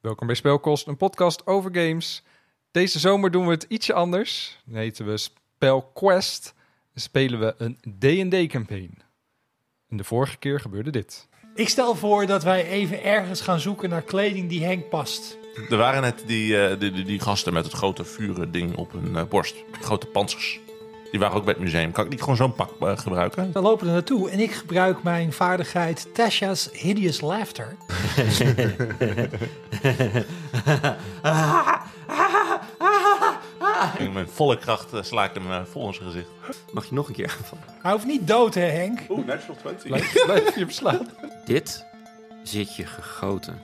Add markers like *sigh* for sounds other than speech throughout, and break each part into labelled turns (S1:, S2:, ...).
S1: Welkom bij Spelkost, een podcast over games. Deze zomer doen we het ietsje anders. Dan heten we Spelquest. Dan spelen we een D&D-campaign. En de vorige keer gebeurde dit.
S2: Ik stel voor dat wij even ergens gaan zoeken naar kleding die Henk past.
S3: Er waren net die, eh, die, die, die gasten met het grote vuren ding op hun eh, borst. Grote panzers. Die waren ook bij het museum. Kan ik niet gewoon zo'n pak eh, gebruiken?
S2: Dan lopen we er naartoe en ik gebruik mijn vaardigheid Tasha's Hideous Laughter.
S3: En Met volle kracht eh, sla ik hem eh, vol in zijn gezicht.
S4: Mag je nog een keer aanvallen?
S2: Hij hoeft niet dood, hè Henk?
S3: Oeh, natural 20.
S1: *laughs* Blijf, blijf je beslaan.
S4: Dit zit je gegoten.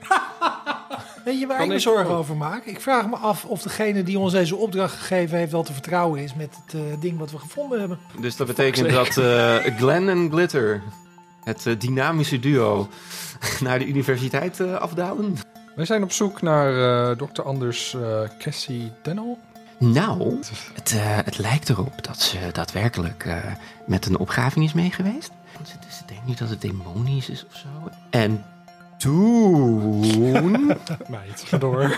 S2: Weet je waar
S1: Kan
S2: ik me
S1: ik
S2: zorgen
S1: ook.
S2: over maak? Ik vraag me af of degene die ons deze opdracht gegeven heeft wel te vertrouwen is met het eh, ding wat we gevonden hebben.
S4: Dus dat betekent dat eh Glenn en Glitter, het eh, dynamische duo, *laughs* naar de universiteit eh, afdalen.
S1: Wij zijn op zoek naar eh, Dr. Anders eh, Cassie Dennel.
S4: Nou, het, eh, het lijkt erop dat ze daadwerkelijk eh, met een opgraving is meegeweest. Want Ze, ze denkt nu dat het demonisch is of zo. En toen...
S1: Meid, ga *laughs* door.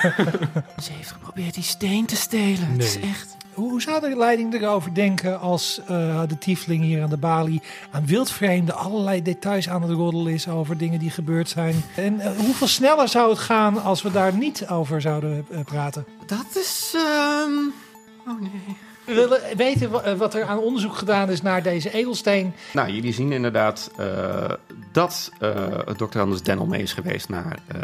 S4: ze heeft geprobeerd die steen te stelen. Het is
S1: Nee.
S4: echt...
S2: Hoe, hoe zou de leiding erover denken als eh, de tiefling hier aan de balie aan wildvreemden allerlei details aan het roddelen is over dingen die gebeurd zijn? En eh, hoeveel sneller zou het gaan als we daar niet over zouden eh, praten?
S4: Dat is... ehm, Oh nee.
S2: We willen weten wa- eh, wat er aan onderzoek gedaan is naar deze edelsteen.
S4: Nou, jullie zien inderdaad eh, dat eh dokter Anders Dennel mee is geweest naar eh,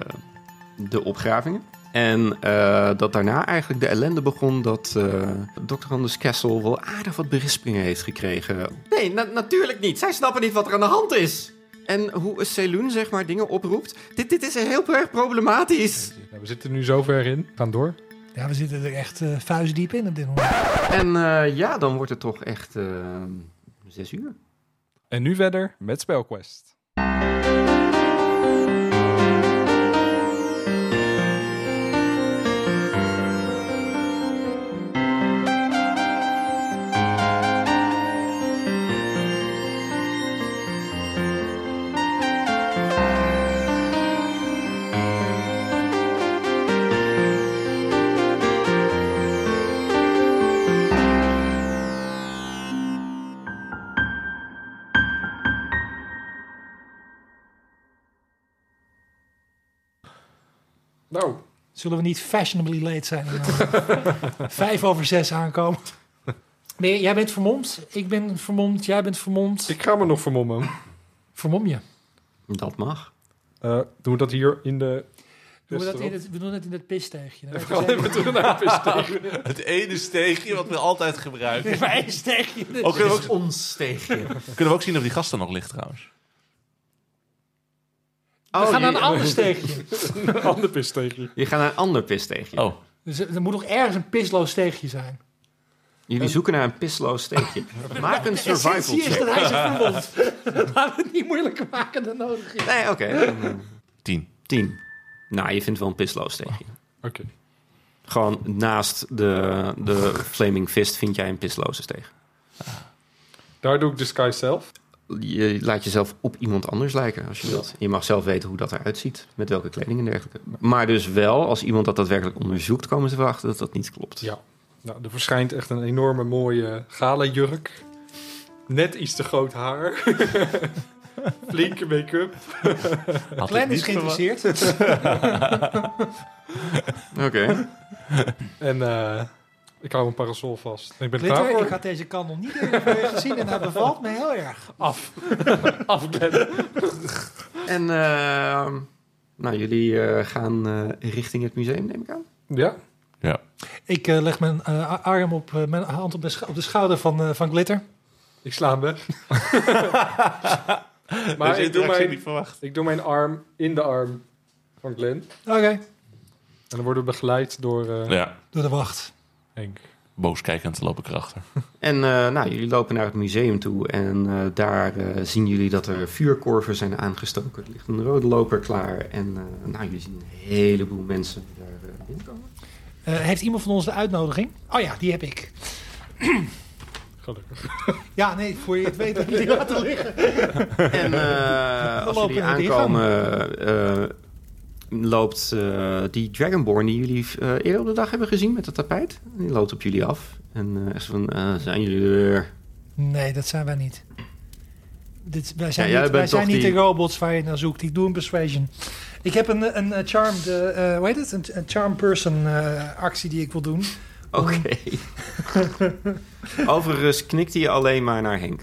S4: de opgravingen. En eh, dat daarna eigenlijk de ellende begon dat eh dokter Anders Kessel wel aardig wat berispingen heeft gekregen. Nee, na- natuurlijk niet. Zij snappen niet wat er aan de hand is. En hoe een Celoen zeg maar dingen oproept. Dit, dit is heel erg problematisch.
S1: Nou, we zitten nu zo ver in. Gaan door.
S2: Ja, we zitten er echt eh, vuistdiep in op dit moment.
S4: En eh, ja, dan wordt het toch echt eh, zes uur.
S1: En nu verder met Spelquest. Nou,
S2: Zullen we niet fashionably late zijn? *laughs* Eh, Vijf over zes aankomen. Nee, jij bent vermomd. Ik ben vermomd. Jij bent vermomd.
S1: ik ga me nog vermommen.
S2: Vermom je.
S4: Dat mag.
S1: Eh, doen we dat hier in de... *laughs*
S2: Doen we, dat in
S1: restaurant?
S2: het, we doen het in het Nou, pisteegje.
S1: We gaan even terug naar Pisteeg.
S3: *laughs* Het ene steegje wat we altijd
S2: *laughs*
S3: gebruiken.
S2: Even één steegje.
S3: Oh, kunnen, we ook,
S4: ons steegje.
S3: kunnen we ook zien of die gasten nog liggen trouwens?
S2: We gaan naar een
S4: *laughs*
S2: ander steegje.
S1: Een ander pisteegje.
S4: Je gaat naar een ander pisteegje.
S3: Oh,
S2: Dus er er moet nog ergens een pisloos steegje zijn.
S4: Jullie zoeken naar een
S2: *laughs*
S4: pisloos steekje. Maak een survival
S2: Essentie is
S4: check.
S2: dat hij zich vermomt. *laughs* Laten we het niet moeilijker maken dan nodig is.
S4: Nee, oké. dan, eh,
S3: tien.
S4: Tien. Nou, je vindt wel een pisloos steekje.
S1: Oké.
S4: Gewoon naast de, de Flaming Fist vind jij een pisloze steeg.
S1: Daar doe ik Disguise zelf.
S4: Je laat jezelf op iemand anders lijken, als je wilt. Je mag zelf weten hoe dat eruit ziet, met welke kleding en dergelijke. Maar dus wel, als iemand dat daadwerkelijk onderzoekt, komen ze erachter dat dat niet klopt.
S1: Ja. Nou, er verschijnt echt een enorme mooie gala-jurk. Net iets te groot haar. *laughs* Flinke make-up.
S3: Had ik
S2: Glenn is
S3: niet verwacht.
S2: geïnteresseerd. *laughs*
S4: Oké.
S1: En eh, ik hou een parasol vast. Ik ben er klaar
S2: Glitter,
S1: voor.
S2: ik had deze kan nog niet eerder gezien en dat bevalt me heel erg.
S1: *laughs* Af. *laughs* Af, Glenn.
S4: En ehm, nou, jullie eh, gaan eh, richting het museum, neem ik aan.
S1: Ja.
S3: Ja.
S2: Ik eh, leg mijn eh, a- arm op, eh, mijn hand op de, scho- op de schouder van, eh, van Glitter.
S1: Ik sla hem weg. *laughs* maar
S3: Deze
S1: Dus ik doe,
S3: interactie
S1: mijn,
S3: niet verwacht.
S1: ik doe mijn arm in de arm van Glenn.
S2: Oké,
S1: En dan worden we begeleid door eh,
S3: Ja,
S2: door de wacht.
S1: Henk.
S3: booskijkend loop ik erachter.
S4: En eh, nou, jullie lopen naar het museum toe en eh, daar eh, zien jullie dat er vuurkorven zijn aangestoken. Er ligt een rode loper klaar en eh, nou, jullie zien een heleboel mensen daar eh,
S2: *laughs*
S4: binnenkomen.
S2: Eh, heeft iemand van ons de uitnodiging? Oh ja, die heb ik.
S1: Gelukkig.
S2: Ja, nee, voor je het weet heb ik die laten liggen.
S4: En eh, als
S2: lopen
S4: jullie
S2: we die
S4: aankomen, eh, loopt eh, die Dragonborn die jullie eh, eerder op de dag hebben gezien met dat tapijt. Die loopt op jullie af. En eh, echt van, eh, zijn jullie er?
S2: Nee, dat zijn wij niet. Dit, wij zijn
S4: Ja, jij
S2: niet, wij
S4: bent
S2: zijn
S4: toch
S2: niet
S4: die-
S2: de robots waar je naar zoekt. Ik doe een persuasion. Ik heb een, een, eh, charmed, eh, eh, hoe heet het? Een, een charm person eh, actie die ik wil doen.
S4: Oké.
S2: *laughs*
S4: Overigens knikt hij alleen maar naar Henk.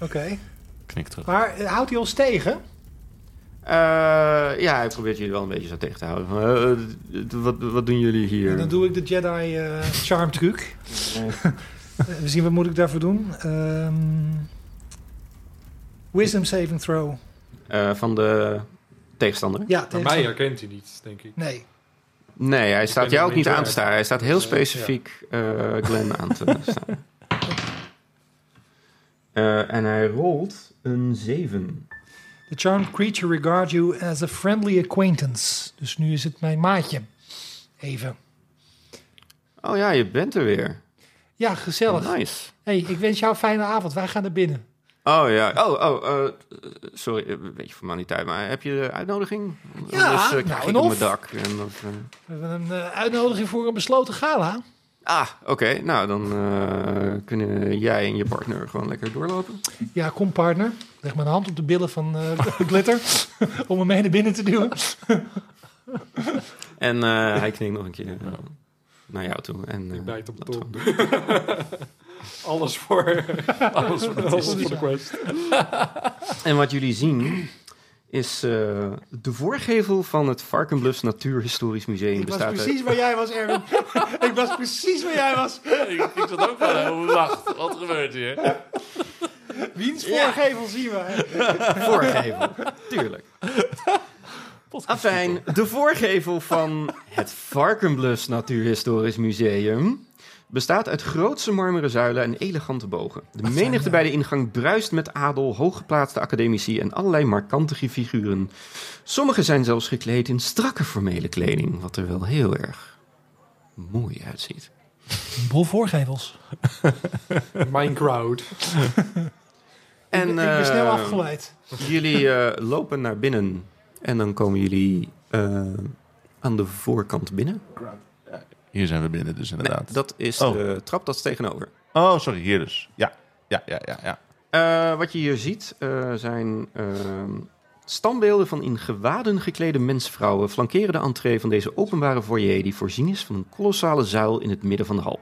S2: Oké.
S3: Knik terug.
S2: Maar eh, houdt hij ons tegen?
S4: Eh, ja, hij probeert jullie wel een beetje zo tegen te houden. Van, eh, eh, wat, wat doen jullie
S2: En
S4: hier?
S2: dan doe ik de Jedi eh charm truc. *laughs* Eh, We zien wat moet ik daarvoor doen. Ehm, wisdom saving throw.
S4: Eh, van de tegenstander.
S2: Ja,
S1: Maar
S2: tegen-
S1: mij herkent hij niet, denk ik.
S2: Nee.
S4: Nee, hij staat
S1: ben
S4: jou
S1: er
S4: ook niet
S1: niet
S4: aan te
S1: uit.
S4: staren. Hij staat heel
S1: Dus, eh, ja.
S4: specifiek eh Glenn aan
S1: *laughs*
S4: te staan. Eh, en hij rolt een 7.
S2: The charmed creature regards you as a friendly acquaintance. Dus nu is het mijn maatje. Even.
S4: Oh ja, je bent er weer.
S2: Ja, gezellig.
S4: Nice.
S2: Hey, ik wens jou een fijne avond. Wij gaan naar binnen.
S4: Oh ja. Oh, oh eh, sorry. eh, Een beetje formaliteit, maar heb je de uitnodiging?
S2: Ja,
S4: Anders, eh,
S2: nou,
S4: krijg
S2: en
S4: ik op
S2: of?
S4: mijn dak. En dat, eh,
S2: We hebben een eh, uitnodiging voor een besloten gala.
S4: Ah, oké. Nou, dan eh, kunnen jij en je partner gewoon lekker doorlopen.
S2: Ja, kom partner. Leg mijn hand op de billen van eh, *laughs* Glitter. om hem mee naar binnen te duwen.
S1: *laughs*
S4: En eh, hij knikt nog een keer eh, naar jou toe. En, eh,
S1: Ik bijt op de
S4: dat-
S1: tong. alles
S3: *laughs*
S1: voor, alles voor, alles voor de quest.
S4: En wat jullie zien is eh, de voorgevel van het Varkenbluffs Natuurhistorisch Museum.
S2: Ik was
S4: bestaat uit-
S2: precies waar jij was, Erwin. ik was precies waar jij was.
S5: ik, ik zat ook wel
S3: eh,
S5: helemaal wacht. Wat gebeurt hier?
S2: Wiens voorgevel zien we?
S4: voorgevel. Tuurlijk. Afijn, de voorgevel van het Varkenblus Natuurhistorisch Museum bestaat uit grootse marmeren zuilen en elegante bogen. De menigte bij de ingang bruist met adel, hooggeplaatste academici en allerlei markante figuren. Sommigen zijn zelfs gekleed in strakke formele kleding, wat er wel heel erg mooi uitziet.
S2: Bol voorgevels.
S1: Mijn crowd.
S4: En,
S2: ik, ben snel
S4: eh,
S2: afgeleid.
S4: Jullie eh, lopen naar binnen en dan komen jullie eh, aan de voorkant binnen.
S3: Hier zijn we binnen dus
S4: Nee,
S3: inderdaad.
S4: dat is
S3: Oh.
S4: de trap, dat is tegenover.
S3: Oh, sorry, hier dus. Ja, ja, ja, ja.
S5: *laughs*
S3: ja.
S4: Eh, wat je hier ziet eh, zijn ehm standbeelden van in gewaden geklede mensvrouwen flankeren de entree van deze openbare foyer die voorzien is van een kolossale zuil in het midden van de hal.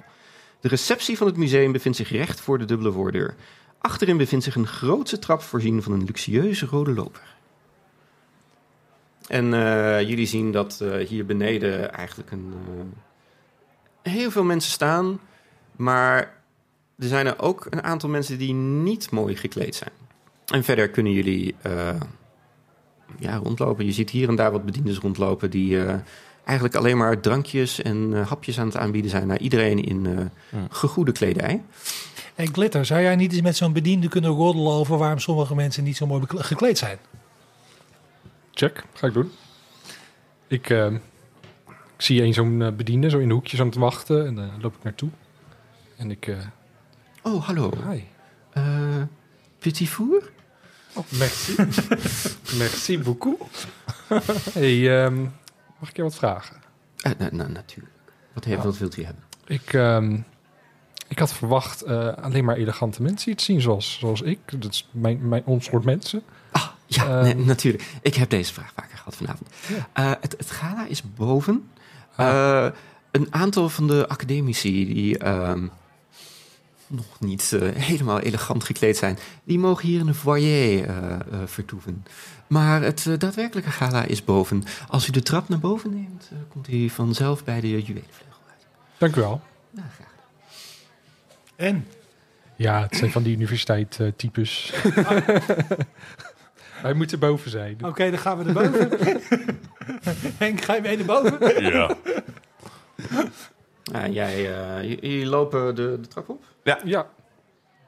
S4: De receptie van het museum bevindt zich recht voor de dubbele voordeur. Achterin bevindt zich een grootse trap voorzien van een luxueuze rode loper. En eh, jullie zien dat eh, hier beneden eigenlijk een, eh, heel veel mensen staan, maar er zijn er ook een aantal mensen die niet mooi gekleed zijn. En verder kunnen jullie eh, ja, rondlopen. Je ziet hier en daar wat bediendes rondlopen die eh, eigenlijk alleen maar drankjes en eh, hapjes aan het aanbieden zijn naar iedereen in eh
S3: Ja.
S4: gegoede kledij.
S2: En Glitter, zou jij niet eens met zo'n bediende kunnen roddelen over waarom sommige mensen niet zo mooi bekle- gekleed zijn?
S1: Check, ga ik doen. Ik, eh, ik zie een zo'n eh, bediende zo in de hoekjes aan het wachten en eh loop ik naartoe. En ik, eh
S4: Oh, hallo.
S1: hi.
S4: Eh petit four?
S1: Oh, Merci. *laughs* Merci beaucoup. *laughs* hey, ehm, mag ik je wat vragen?
S4: Eh, na- na- natuurlijk. Wat, heeft, wat wilt u hebben?
S1: Ik, ehm, ik had verwacht eh, alleen maar elegante mensen iets zien zoals, zoals ik. Dat is mijn, mijn, ons soort mensen.
S4: Ah, ja,
S1: Ehm.
S4: nee, natuurlijk. Ik heb deze vraag vaker gehad vanavond. Eh, het, het gala is boven. Eh, een aantal van de academici die ehm, nog niet eh, helemaal elegant gekleed zijn, die mogen hier in de foyer eh, eh, vertoeven. Maar het eh, daadwerkelijke gala is boven. Als u de trap naar boven neemt, eh, komt u vanzelf bij de juwelenvleugel uit.
S1: Dank u wel.
S4: Nou, graag.
S2: En?
S1: Ja, het zijn van die universiteit eh, *laughs* types. Wij moeten boven zijn.
S2: Oké, dan gaan we naar boven. *laughs* Henk, ga je mee naar boven?
S3: Ja.
S4: Nou, jij, eh, j- jullie lopen de, de trap op?
S1: Ja,
S2: Moeten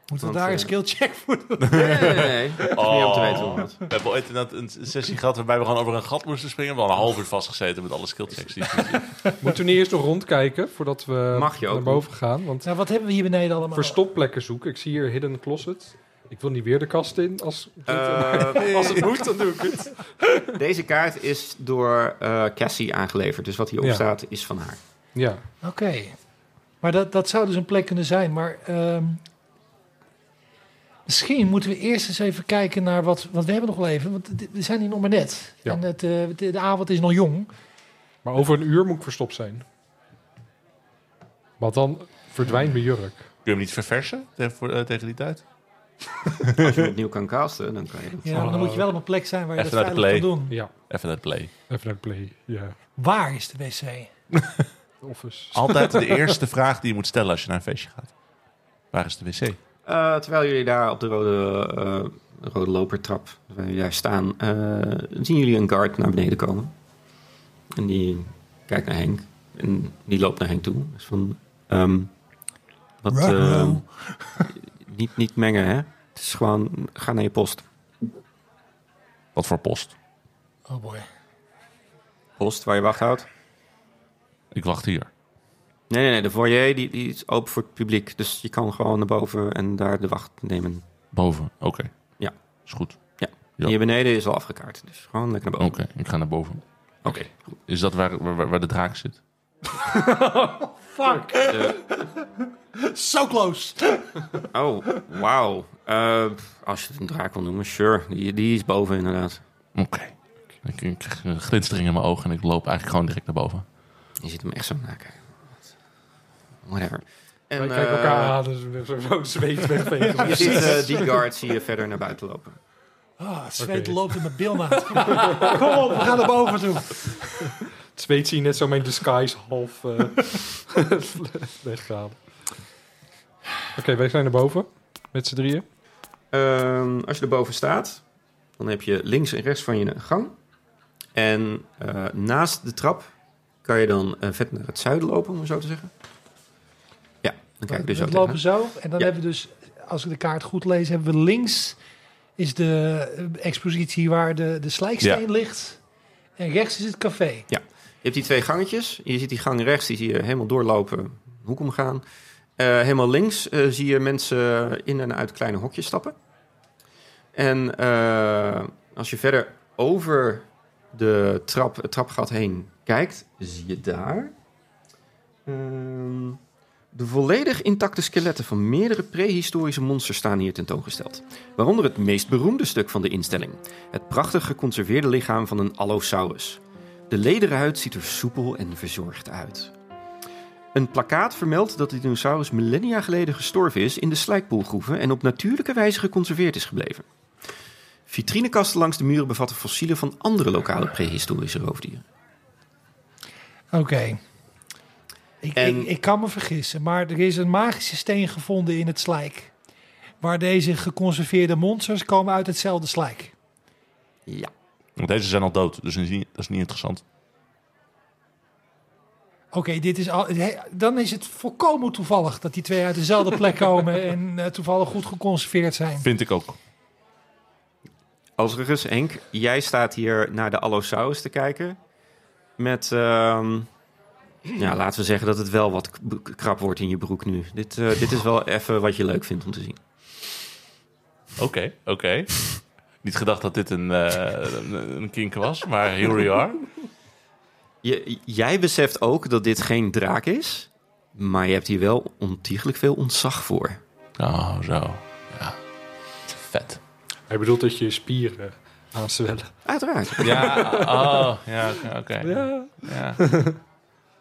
S2: we
S4: Want,
S2: daar een
S4: eh,
S2: skill check voor doen?
S4: Nee, nee, nee. nee. Het is niet om te weten hoe
S5: Oh.
S4: het.
S5: We hebben ooit inderdaad een sessie gehad waarbij we gewoon over een gat moesten springen. We hadden een half uur vastgezeten met alle skillchecks. die-
S1: moeten we niet eerst nog rondkijken voordat we
S4: Mag je ook
S1: naar boven gaan? Want
S2: Nou, wat hebben we hier beneden allemaal?
S1: voor stopplekken zoeken. Ik zie hier Hidden Closet. Ik wil niet weer de kast in. Als,
S4: Eh,
S1: als het moet, dan doe ik het.
S4: deze kaart is door eh, Cassie aangeleverd. Dus wat hierop
S1: Ja.
S4: staat is van haar.
S1: Ja.
S2: Oké. Maar dat, dat zou dus een plek kunnen zijn. Maar ehm, misschien moeten we eerst eens even kijken naar wat... Want we hebben nog wel even, want dit- we zijn hier nog maar net.
S1: Ja.
S2: En het, eh, de, de avond is nog jong.
S1: Maar over een uur moet ik verstopt zijn. Want dan verdwijnt mijn jurk.
S5: Kun je hem niet verversen te- voor- eh, tegen die tijd?
S4: Als je opnieuw kan casten, dan kan je dat.
S2: Ja, maar dan moet je wel op een plek zijn waar je
S5: Even
S2: dat
S5: naar de
S2: veilig kan doen.
S1: Ja,
S5: Even naar de play.
S1: even naar de play. Ja,
S2: Waar is de wc?
S1: de office.
S5: Altijd *laughs* de eerste vraag die je moet stellen als je naar een feestje gaat. Waar is de wc?
S4: Eh, terwijl jullie daar op de rode, eh, rode lopertrap waar jullie daar staan, eh, zien jullie een guard naar beneden komen. En die kijkt naar Henk. En die loopt naar Henk toe. Is van, ehm, wat,
S2: Ruh-roh.
S4: ehm, niet, niet mengen, hè? Het is gewoon, ga naar je post.
S5: Wat voor post?
S2: Oh boy.
S4: Post waar je wacht houdt.
S5: Ik wacht hier.
S4: Nee, nee, nee, de foyer die, die is open voor het publiek. Dus je kan gewoon naar boven en daar de wacht nemen.
S5: Boven. Oké.
S4: Ja.
S5: Is goed. Ja.
S4: Ja. Hier beneden is al afgekaart. Dus gewoon lekker naar
S5: Oké,
S4: boven.
S5: ik ga naar boven.
S4: Oh, Oké.
S5: Is dat waar, waar, waar de draak zit?
S2: Fuck. so close.
S4: Oh, wauw. Eh, als je het een draak wil noemen, sure. Die, die is boven inderdaad.
S5: Oké. Ik, ik krijg een glinstering in mijn ogen en ik loop eigenlijk gewoon direct naar boven.
S4: Je ziet hem echt zo nakijken. Whatever. En,
S1: Wij kijken
S4: eh,
S1: elkaar aan, dus we zo- zo zweet wegvegen.
S4: *laughs* Je ziet eh, die guard zie je verder naar buiten lopen.
S2: Ah, het zweet
S1: Oké.
S2: loopt in mijn bil na. *laughs* Kom op, we gaan naar boven toe.
S1: Het zweet zie je net zo mijn disguise half eh *laughs* weggaan. Oké, wij zijn naar boven. Met z'n drieën.
S4: Ehm, als je erboven staat, dan heb je links en rechts van je een gang. En eh, naast de trap kan je dan eh, vet naar het zuiden lopen, om het zo te zeggen. Ja, dan kijk je dus
S2: we
S4: ook
S2: lopen
S4: tegenaan.
S2: zo. En dan
S4: Ja.
S2: hebben we dus, als ik de kaart goed lees, hebben we links is de eh, expositie waar de, de slijksteen ligt. En rechts is het café.
S4: Je hebt die twee gangetjes. Je ziet die gang rechts, die zie je helemaal doorlopen, een hoek omgaan. Eh, helemaal links eh, zie je mensen in en uit kleine hokjes stappen. En eh, als je verder over de trap, het trapgat heen kijkt, zie je daar ehm, de volledig intacte skeletten van meerdere prehistorische monsters staan hier tentoongesteld. Waaronder het meest beroemde stuk van de instelling: het prachtig geconserveerde lichaam van een Allosaurus. De lederhuid ziet er soepel en verzorgd uit. Een plakkaat vermeldt dat de dinosaurus millennia geleden gestorven is in de slijkpoelgroeven en op natuurlijke wijze geconserveerd is gebleven. Vitrinekasten langs de muren bevatten fossielen van andere lokale prehistorische roofdieren.
S2: Oké. Ik,
S4: En-
S2: ik, ik kan me vergissen, maar er is een magische steen gevonden in het slijk. Waar deze geconserveerde monsters komen uit hetzelfde slijk.
S4: Ja.
S5: Want deze zijn al dood, dus dat is niet, dat is niet interessant.
S2: Oké, dit is al. he- Dan is het volkomen toevallig dat die twee uit dezelfde *laughs* plek komen en eh, toevallig goed geconserveerd zijn.
S5: Vind ik ook.
S4: Overigens, Henk, jij staat hier naar de Allosaurus te kijken. Met, ehm, ja, laten we zeggen dat het wel wat k- k- krap wordt in je broek nu. Dit, eh, dit is wel even wat je leuk vindt om te zien.
S5: Oké, oké. Niet gedacht dat dit een, eh, een, een kink was, maar here we are.
S4: Je- jij beseft ook dat dit geen draak is, maar je hebt hier wel ontiegelijk veel ontzag voor.
S5: Oh, zo. Ja. Vet.
S1: Hij bedoelt dat je je spieren eh, aanzwellen.
S4: Uiteraard.
S5: Ja, oh, ja, oké.
S1: Ja.
S5: Ja.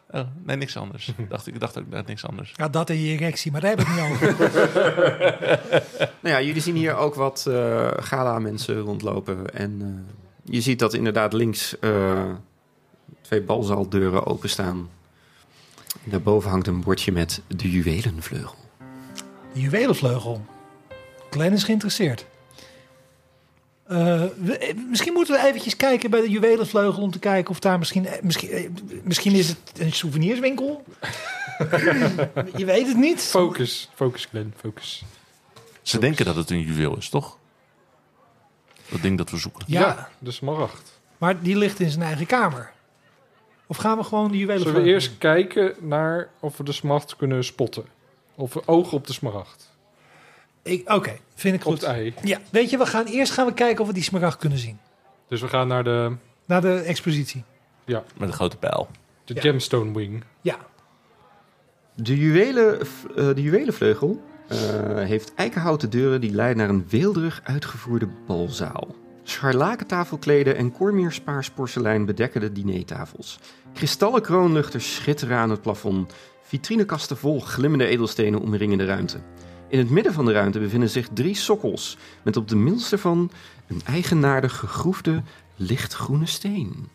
S5: Oh, nee, niks anders. Dacht, ik dacht ook dat niks anders.
S2: Ja, dat en je erectie, maar daar heb ik niet *laughs* over.
S4: Nou ja, jullie zien hier ook wat eh, gala-mensen rondlopen. En eh, je ziet dat inderdaad links eh, twee balzaaldeuren openstaan. En Daarboven hangt een bordje met de juwelenvleugel.
S2: De juwelenvleugel. Glenn is geïnteresseerd. Eh, we- eh, misschien moeten we eventjes kijken bij de juwelenvleugel om te kijken of daar misschien... eh, misschien, eh, misschien is het een *laughs* souvenirswinkel. je weet het niet.
S1: Focus, focus Glenn, focus.
S5: Ze denken dat het een juweel is, toch? Dat ding dat we zoeken.
S2: Ja,
S1: de smaragd.
S2: maar die ligt in zijn eigen kamer. Of gaan we gewoon de
S1: Zullen we
S2: juwelenvleugel?
S1: eerst kijken naar of we de smaragd kunnen spotten? Of we ogen op de smaragd?
S2: Ik- Oké, vind ik
S1: Op het
S2: goed.
S1: ei.
S2: Ja, weet je, we gaan eerst gaan we kijken of we die smaragd kunnen zien.
S1: Dus we gaan naar de,
S2: Naar de expositie.
S5: Met een grote pijl.
S1: de
S2: Ja.
S1: gemstone wing.
S2: Ja,
S4: De, juwelen, v- eh, de juwelenvleugel eh, heeft eikenhouten deuren die leiden naar een weelderig uitgevoerde balzaal. Scharlakentafelkleden en kormierspaars porselein bedekken de dinertafels. Kristallen kroonluchters schitteren aan het plafond. Vitrinekasten vol glimmende edelstenen omringen de ruimte. In het midden van de ruimte bevinden zich drie sokkels, met op de middelste van een eigenaardig gegroefde lichtgroene steen.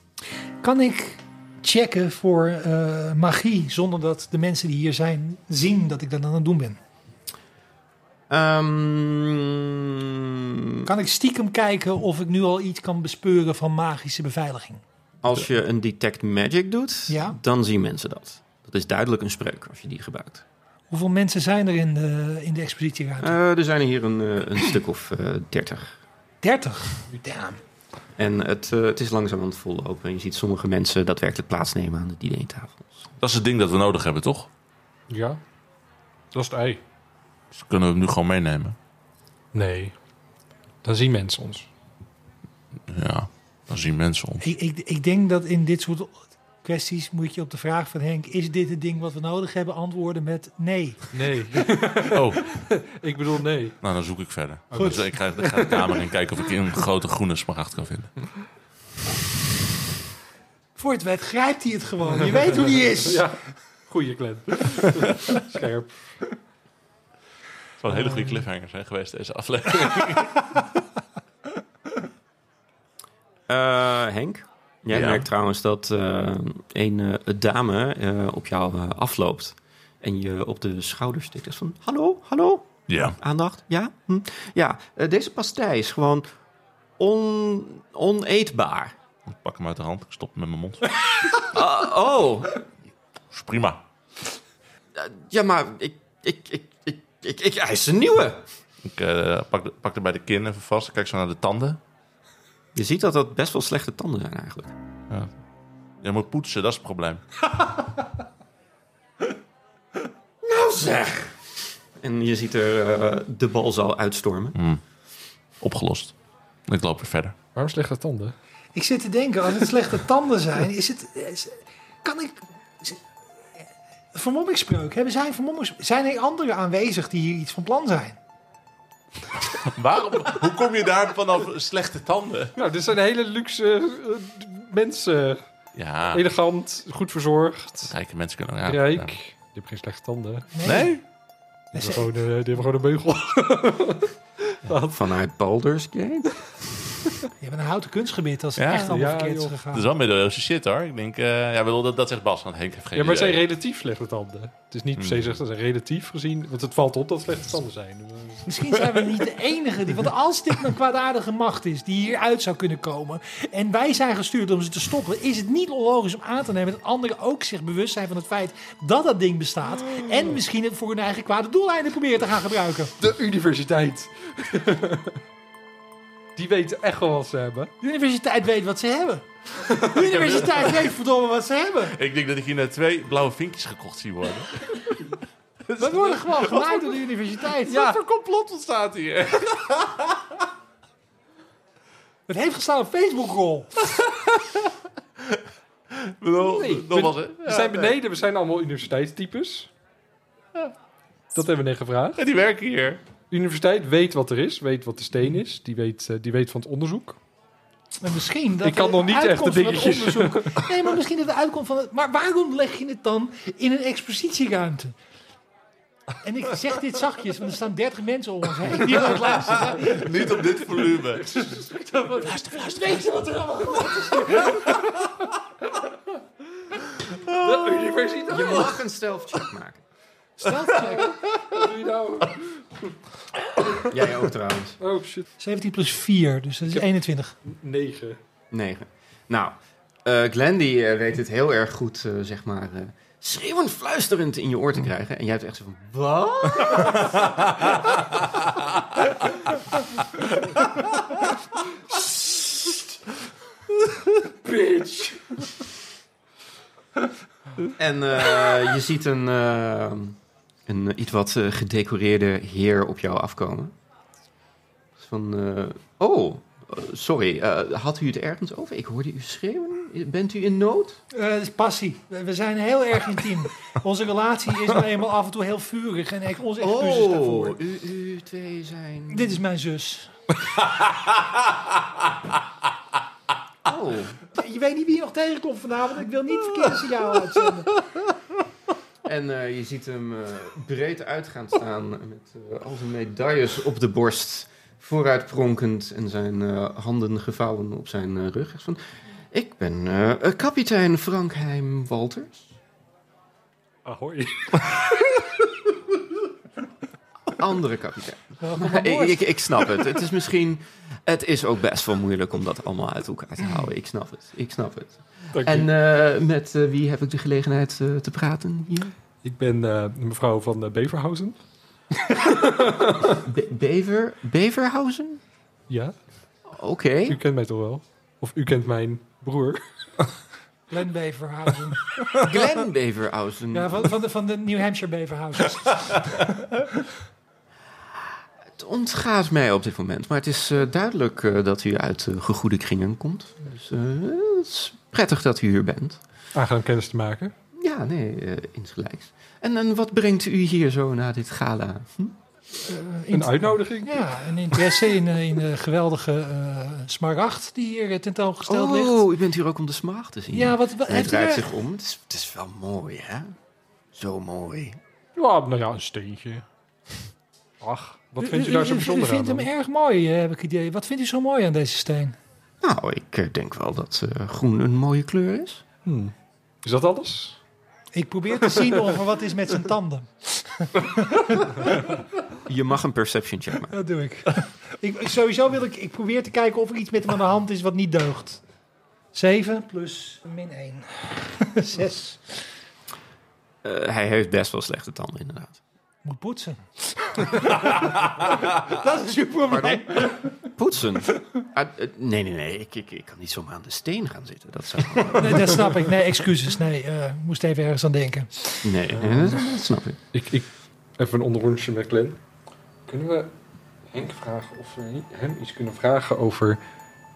S2: Kan ik checken voor eh, magie zonder dat de mensen die hier zijn zien dat ik dat aan het doen ben?
S4: Ehm,
S2: Kan ik stiekem kijken of ik nu al iets kan bespeuren van magische beveiliging?
S4: Als je een detect magic doet,
S2: Ja.
S4: dan zien mensen dat. Dat is duidelijk een spreuk als je die gebruikt.
S2: Hoeveel mensen zijn er in de, in de expositieruimte?
S4: Eh, er zijn er hier een, eh, een stuk of dertig.
S2: 30. Damn.
S4: en het, eh, het is langzaam aan het vollopen. Je ziet sommige mensen daadwerkelijk plaatsnemen aan de dinertafels.
S5: Dat is het ding dat we nodig hebben, toch?
S1: Ja. Dat is het ei.
S5: Dus kunnen we hem nu gewoon meenemen.
S1: Nee. Dan zien mensen ons.
S5: Ja, dan zien mensen ons.
S2: Ik, ik, ik denk dat in dit soort kwesties moet je op de vraag van Henk: is dit het ding wat we nodig hebben? antwoorden met nee.
S1: Nee.
S5: Oh,
S1: ik bedoel nee.
S5: nou dan zoek ik verder.
S1: Goed.
S5: Dus ik ga, ik ga de kamer in kijken of ik een grote groene smaragd kan vinden.
S2: Voor het wet grijpt hij het gewoon. Je weet hoe die is.
S1: Ja. Goeie *laughs* klem. Scherp.
S5: Het zou een hele goede cliffhanger zijn geweest deze aflevering.
S4: Eh, Henk, jij
S5: Ja.
S4: merkt trouwens dat eh, een eh, dame eh, op jou eh, afloopt. En je op de schouder stikt. Dus van, hallo, hallo,
S5: Ja.
S4: aandacht, ja? Hm? Ja, eh, deze pastei is gewoon on, oneetbaar.
S5: Ik pak hem uit de hand. Ik stop hem met mijn mond.
S4: Ah, oh,
S5: Is prima.
S4: ja, maar ik, ik, ik, ik, ik, ik eis een nieuwe.
S5: Ik eh, pak, de, pak er bij de kin even vast. Ik Kijk zo naar de tanden.
S4: Je ziet dat dat best wel slechte tanden zijn eigenlijk.
S5: Je moet poetsen, dat is het probleem.
S4: Nou zeg! En je ziet er eh, de balzaal uitstormen.
S5: Hmm. Opgelost. Ik loop weer verder.
S1: Waarom slechte tanden?
S2: Ik zit te denken, als het slechte tanden zijn, is het. is- kan ik. is- Vermommingsspreuk. Hebben zij een vermommingsspreuk? Zijn er anderen aanwezig die hier iets van plan zijn?
S5: *laughs* Waarom? Hoe kom je daar vanaf slechte tanden?
S1: Nou, dit zijn hele luxe eh, d- mensen.
S5: Ja,
S1: Elegant, goed verzorgd,
S5: rijke mensen kunnen raar.
S1: rijk. Die hebben geen slechte tanden. Die
S5: Nee?
S1: hebben gewoon, eh, die hebben gewoon een beugel.
S4: Vanuit Baldur's Gate?
S2: Je hebt een houten kunstgebied als het
S5: Ja,
S2: echt allemaal
S1: ja,
S2: verkeerd is
S1: joh.
S5: Dat
S2: gegaan.
S5: is wel middeleeuwse shit hoor. Ik denk, eh, ja, bedoel, dat, dat zegt Bas, want Henk heeft geen
S1: Ja, Hmm. maar het
S5: idee.
S1: zijn relatief slechte tanden. Het is niet per se slecht, het zijn relatief gezien. Want het valt op dat slechte tanden zijn.
S2: Misschien zijn we niet de enige die. Want als dit een kwaadaardige macht is die hieruit zou kunnen komen. en wij zijn gestuurd om ze te stoppen. is het niet onlogisch om aan te nemen dat anderen ook zich bewust zijn van het feit dat dat ding bestaat. en misschien het voor hun eigen kwade doeleinden proberen te gaan gebruiken.
S1: De universiteit. *laughs* Die weten echt wel wat ze hebben.
S2: De universiteit weet wat ze hebben. De universiteit weet verdomme wat ze hebben.
S5: Ik denk dat ik hier net twee blauwe vinkjes gekocht zie worden.
S2: We worden gewoon geleid door de universiteit.
S5: *laughs* Wat
S2: Ja,
S5: voor complot ontstaat hier?
S2: het heeft gestaan op Facebook-rol.
S5: Ik bedoel,
S1: Nee,
S5: nogmaals,
S1: we,
S5: hè?
S1: we
S5: Ja,
S1: zijn
S5: nee.
S1: beneden, we zijn allemaal universiteitstypes. Dat hebben we net gevraagd.
S5: En die werken hier.
S1: De universiteit weet wat er is, weet wat de steen is. Die weet, eh, die weet van het onderzoek.
S2: Maar misschien dat
S1: Ik kan
S2: de
S1: nog niet echt de
S2: uitkomst van het
S1: dingetjes.
S2: onderzoek- Nee, maar misschien dat de uitkomst van het... Maar waarom leg je het dan in een expositieruimte? En ik zeg dit zachtjes, want er staan 30 mensen om ons heen. Die aan het luisteren. zijn.
S5: *laughs* Niet op dit volume.
S2: Luister, luister. Weet je wat er allemaal gebeurt?
S1: De universiteit.
S4: Je mag een stealth-check maken.
S2: Stealth check.
S1: Wat doe je nou?
S4: Jij ook trouwens.
S1: Oh shit.
S2: 17 plus 4, dus dat is 21.
S1: 9.
S4: 9. Nou, eh Glenn die eh, weet het heel erg goed, eh, zeg maar, eh, schreeuwend, fluisterend in je oor te krijgen. En jij hebt echt zo van, wat? *laughs*
S1: Bitch.
S4: En eh, je ziet een, eh, een eh, iets wat eh, gedecoreerde heer op jou afkomen. Dus Van, eh, oh, eh, sorry, eh, had u het ergens over? Ik hoorde u schreeuwen. Bent u in nood?
S2: Eh, het is passie. We we zijn heel erg intiem. Onze relatie is nou eenmaal af en toe heel vurig. En ik, onze excuses
S4: Oh.
S1: Oh.
S2: daarvoor.
S4: u, u twee zijn...
S2: Dit is mijn zus.
S4: Oh,
S2: Je weet niet wie je nog tegenkomt vanavond. Ik wil
S1: Ah.
S2: niet verkeerde signaal uitzenden.
S4: en eh, je ziet hem eh, breed uit gaan staan met eh, al zijn medailles op de borst. Vooruit pronkend en zijn eh, handen gevouwen op zijn eh, rug. Hij is Van, ik ben eh, eh, kapitein Frankheim Walters.
S1: Ahoy.
S4: Andere kapitein.
S2: *laughs* Welkom aan
S4: Maar ik,
S2: boord.
S4: ik, ik snap het. Het is misschien. Het is ook best wel moeilijk om dat allemaal uit elkaar te houden. Ik snap het. Ik snap het.
S1: Dank je.
S4: En eh, met eh, wie heb ik de gelegenheid eh, te praten hier?
S1: Ik ben eh, de mevrouw van eh, Beverhausen.
S4: Be- Bever, Beverhausen?
S1: Ja,
S4: Oké.
S1: u
S2: *laughs*
S1: kent mij toch wel? Of u kent mijn broer.
S2: Glen Beverhausen.
S4: Glenn Beverhausen.
S2: Ja, van, van, de, van de New Hampshire Beverhausen.
S4: Het ontgaat mij op dit moment. Maar het is eh, duidelijk eh, dat u uit eh, gegoede kringen komt. Dus eh, het is prettig dat u hier bent.
S1: Aangenaam kennis te maken.
S4: Ja, nee, eh, insgelijks. En, en wat brengt u hier zo na dit gala? Hm?
S2: Eh,
S1: Een uitnodiging.
S2: Ja, een interesse in, eh, in de geweldige eh smaragd die hier eh, tentoongesteld ligt.
S4: Oh, u bent hier ook om de smaag te zien.
S2: Ja, wat, wat
S4: En hij
S2: heeft u
S4: draait
S2: er?
S4: zich om. Het is, het is wel mooi, hè? Zo mooi.
S1: Ja, nou ja, een steentje. Ach, wat vindt u daar zo bijzonder
S2: Ik vind
S1: aan?
S2: hem
S1: dan?
S2: erg mooi, eh, heb ik idee. Wat vindt u zo mooi aan deze steen?
S4: Nou, ik eh, denk wel dat eh, groen een mooie kleur is.
S1: Hmm. Is dat alles?
S2: Ik probeer te zien of er wat is met zijn tanden.
S4: Je mag een perception check maken.
S2: Dat doe ik. *laughs* ik ik- sowieso wil ik, ik probeer te kijken of er iets met hem aan de hand is wat niet deugt. 7 plus min *laughs* 1. 6.
S4: Eh, hij heeft best wel slechte tanden, inderdaad.
S2: Moet poetsen. *laughs* dat is uw probleem.
S4: Poetsen? Ah, eh, nee, nee, nee. Ik, ik, ik kan niet zomaar aan de steen gaan zitten. Dat zou...
S2: Nee, dat snap ik. Nee, excuses. Nee, eh, moest even ergens aan denken.
S4: Nee, eh, dat, dat snap ik.
S1: Ik, ik... Even een onderrondje met Glenn. Kunnen we Henk vragen of we hem iets kunnen vragen over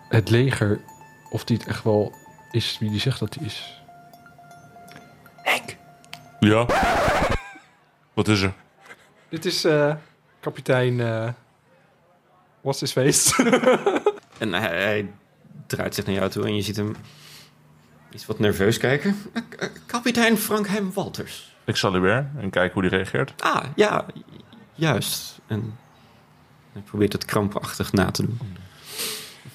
S1: het leger? Of die het echt wel is wie die zegt dat hij is?
S2: Henk.
S5: *laughs* Ja. Wat is er?
S1: Dit is eh, kapitein... eh what's his face?
S4: En hij, hij draait zich naar jou toe en je ziet hem iets wat nerveus kijken. Eh, eh, Kapitein Frankheim Walters.
S5: Ik zal hem weer en kijken hoe die reageert.
S4: Ah, ja, ju- juist. En hij probeert het krampachtig na te doen.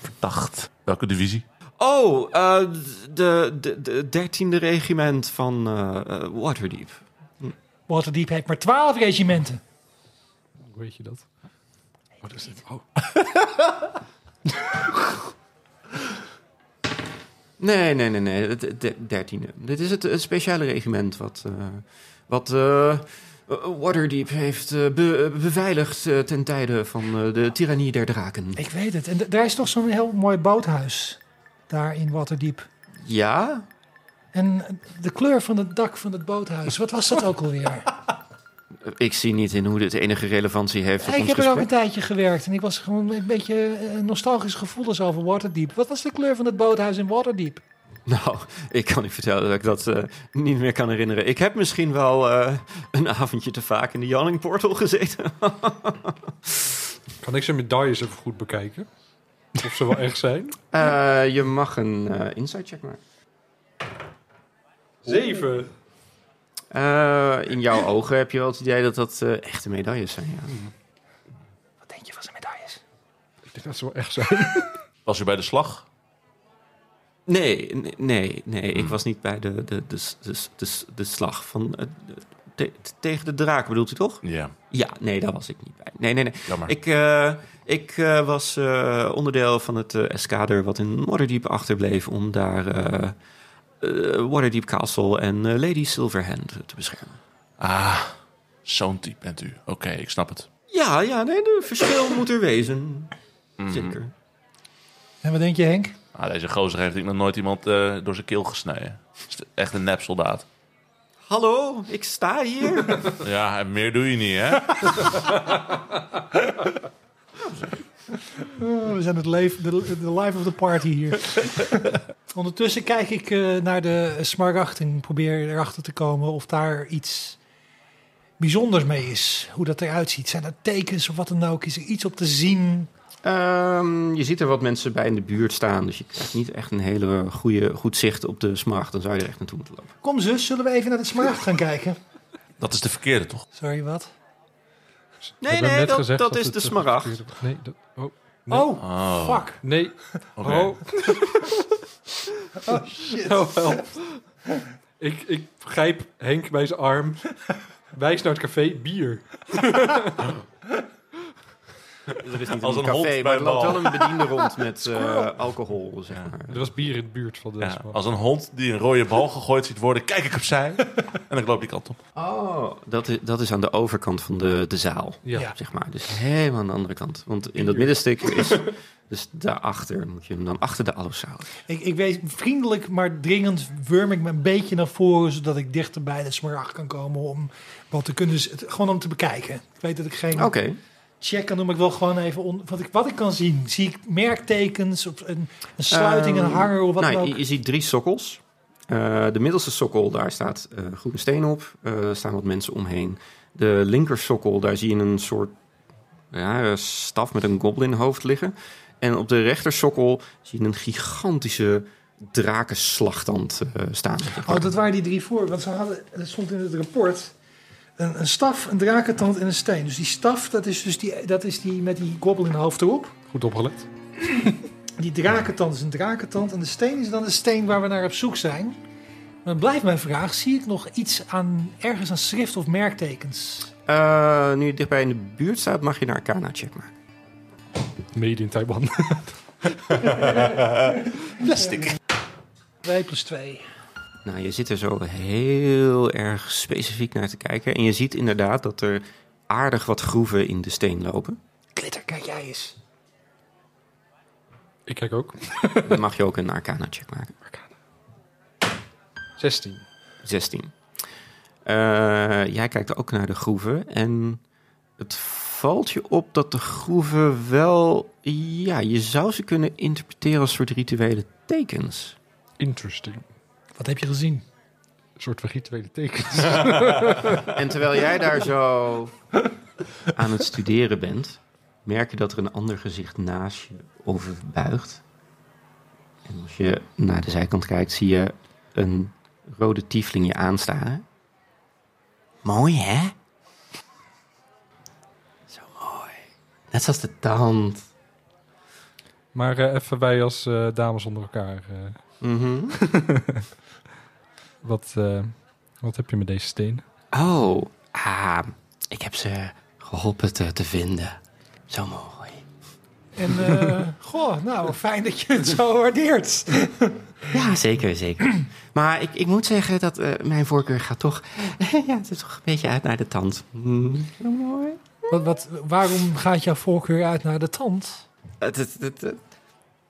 S5: Verdacht. Welke divisie?
S4: Oh, eh, de, de, de dertiende regiment van eh, eh, Waterdeep.
S2: Waterdeep heeft maar 12 regimenten.
S1: *laughs* Hoe weet je dat? Wat is dit? Oh.
S4: Nee, nee, nee, nee, de- de dertiende. Dit is het, het speciale regiment wat, eh, wat eh, Waterdeep heeft eh, be- beveiligd eh, ten tijde van eh, de tirannie der draken.
S2: Ik weet het. En d- daar is toch zo'n heel mooi boothuis. Daar in Waterdiep.
S4: Ja?
S2: En de kleur van het dak van het boothuis. Wat was dat ook alweer?
S4: Ik zie niet in hoe dit enige relevantie heeft tot
S2: ik
S4: ons
S2: heb er ook
S4: gesprek.
S2: een tijdje gewerkt. En ik was gewoon een beetje eh, nostalgische gevoelens over Waterdeep. Wat was de kleur van het boothuis in Waterdeep?
S4: Nou, ik kan u vertellen dat ik dat eh, niet meer kan herinneren. Ik heb misschien wel eh, een avondje te vaak in de Janning Portal gezeten.
S1: Kan ik zijn medailles even goed bekijken? Of ze wel echt zijn?
S4: Eh, je mag een eh, inside check maken.
S1: Zeven.
S4: Eh, in jouw ogen heb je wel het idee dat dat eh, echte medailles zijn. Ja.
S2: Wat denk je van zijn medailles?
S1: Ik denk dat ze wel echt zijn.
S5: Was u bij de slag?
S4: Nee, nee, nee, nee, ik was niet bij de, de, de, de, de, de slag van. eh, de- te- tegen de draak bedoelt u toch?
S5: Ja,
S4: Ja, nee, daar was ik niet bij. Nee, nee, nee.
S3: Ah.
S5: jammer.
S4: Ik, eh, ik eh, was eh, onderdeel van het eh, eskader wat in Waterdeep achterbleef om daar eh, eh, Waterdeep Castle en eh, Lady Silverhand eh, te beschermen.
S5: Ah, zo'n type bent u. Oké, ik snap het.
S4: Ja, ja, nee, de verschil moet er wezen.
S5: Mhm.
S4: Zeker.
S2: En wat denk je, Henk?
S5: Ah, deze gozer heeft ik nog nooit iemand eh, door zijn keel gesneden. Is Echt een nep soldaat.
S4: hallo, ik sta hier.
S5: Ja, en meer doe je niet, hè?
S2: Oh, we zijn het leven, de, de life of the party hier. *laughs* Ondertussen kijk ik eh, naar de smaragd en probeer erachter te komen of daar iets bijzonders mee is. Hoe dat eruit ziet. Zijn er tekens of wat dan ook? Is er iets op te zien?
S4: Ehm, je ziet er wat mensen bij in de buurt staan, dus je krijgt niet echt een hele goede, goed zicht op de smacht. Dan zou je er echt naartoe moeten lopen.
S2: Kom zus, zullen we even naar de smaragd gaan kijken?
S5: Dat is de verkeerde, toch?
S2: Sorry, wat?
S1: We
S4: Nee,
S1: hebben
S4: nee,
S1: net
S4: dat,
S1: gezegd
S4: dat is
S1: het
S4: de
S1: een
S4: smaragd.
S1: verkeerde- Nee, dat- oh, Nee.
S2: Oh,
S5: Oh,
S2: fuck.
S1: nee.
S5: oké. *laughs* Oh,
S1: Oh. shit. Ik, ik grijp Henk bij zijn arm. Wijs naar het café, bier.
S4: Er is niet
S5: Als
S4: een
S5: een hond
S4: café,
S5: bij
S4: maar er
S5: een
S4: loopt
S5: bal.
S4: wel een bediende
S5: *laughs*
S4: rond met eh, alcohol, zeg maar.
S1: Er was bier in de buurt van de
S5: Ja,
S1: smaak.
S5: als een hond die een rode bal gegooid ziet worden, kijk ik opzij. En dan loop die kant op.
S4: Oh, dat is, dat is aan de overkant van de, de zaal,
S1: Ja.
S2: Ja.
S4: zeg maar. Dus helemaal aan de andere kant. Want in dat middenstuk is... Dus daarachter moet je hem dan achter de allosaurus.
S2: Ik, ik weet, vriendelijk maar dringend wurm ik me een beetje naar voren... zodat ik dichter bij de smaragd kan komen om wat te kunnen... z- het- gewoon om te bekijken. Ik weet dat ik geen...
S4: Oké,
S2: check kan doen, maar ik wil gewoon even on- wat, ik, wat ik kan zien. Zie ik merktekens, of een, een sluiting, een
S4: Ehm,
S2: hanger of wat
S4: nou,
S2: dan
S4: je,
S2: ook?
S4: je ziet drie sokkels. Eh, de middelste sokkel, daar staat eh groene steen op. Eh, Er staan wat mensen omheen. De linker sokkel, daar zie je een soort ja, eh, staf met een goblinhoofd liggen. En op de rechter sokkel zie je een gigantische drakenslachtand eh, staan.
S2: Oh, dat waren die drie voor, want ze hadden, dat stond in het rapport, een, een staf, een drakentand en een steen. Dus die staf, dat is dus die, dat is die met die goblin hoofd erop.
S1: Goed opgelet.
S2: Die drakentand is een drakentand en de steen is dan de steen waar we naar op zoek zijn. Maar dan blijft mijn vraag, zie ik nog iets aan, ergens aan schrift of merktekens?
S4: Eh, nu je dichtbij in de buurt staat, mag je naar Arcana check maken.
S1: Mede in Taiwan. *laughs*
S2: Plastic. 2 plus 2.
S4: Nou, je zit er zo heel erg specifiek naar te kijken. En je ziet inderdaad dat er aardig wat groeven in de steen lopen.
S2: Glitter, kijk jij eens.
S1: Ik kijk ook.
S4: Dan mag je ook een arcana check maken.
S1: 16.
S4: 16. Eh, jij kijkt ook naar de groeven. En het valt je op dat de groeven wel... Ja, je zou ze kunnen interpreteren als soort rituele tekens.
S1: Interesting.
S2: Wat heb je gezien?
S1: Een soort van rituele tekens.
S4: En terwijl jij daar zo aan het studeren bent, merk je dat er een ander gezicht naast je overbuigt. En als je naar de zijkant kijkt, zie je een rode tiefling je aanstaren. Mooi, hè? Zo mooi. Net zoals de tand.
S1: *laughs* Maar eh, even wij als eh, dames onder elkaar. eh,
S4: Mm-hmm.
S1: wat, eh, wat heb je met deze steen?
S4: Oh, ah, ik heb ze geholpen te, te vinden. Zo mooi.
S2: En *laughs* eh, goh, nou, fijn dat je het zo waardeert.
S4: Ja, zeker, zeker. Maar ik, ik moet zeggen dat eh, mijn voorkeur gaat toch... *laughs* ja, het is toch een beetje uit naar de tand. Mm.
S2: Wat, wat, waarom gaat jouw voorkeur uit naar de tand?
S4: Het, het, het, het-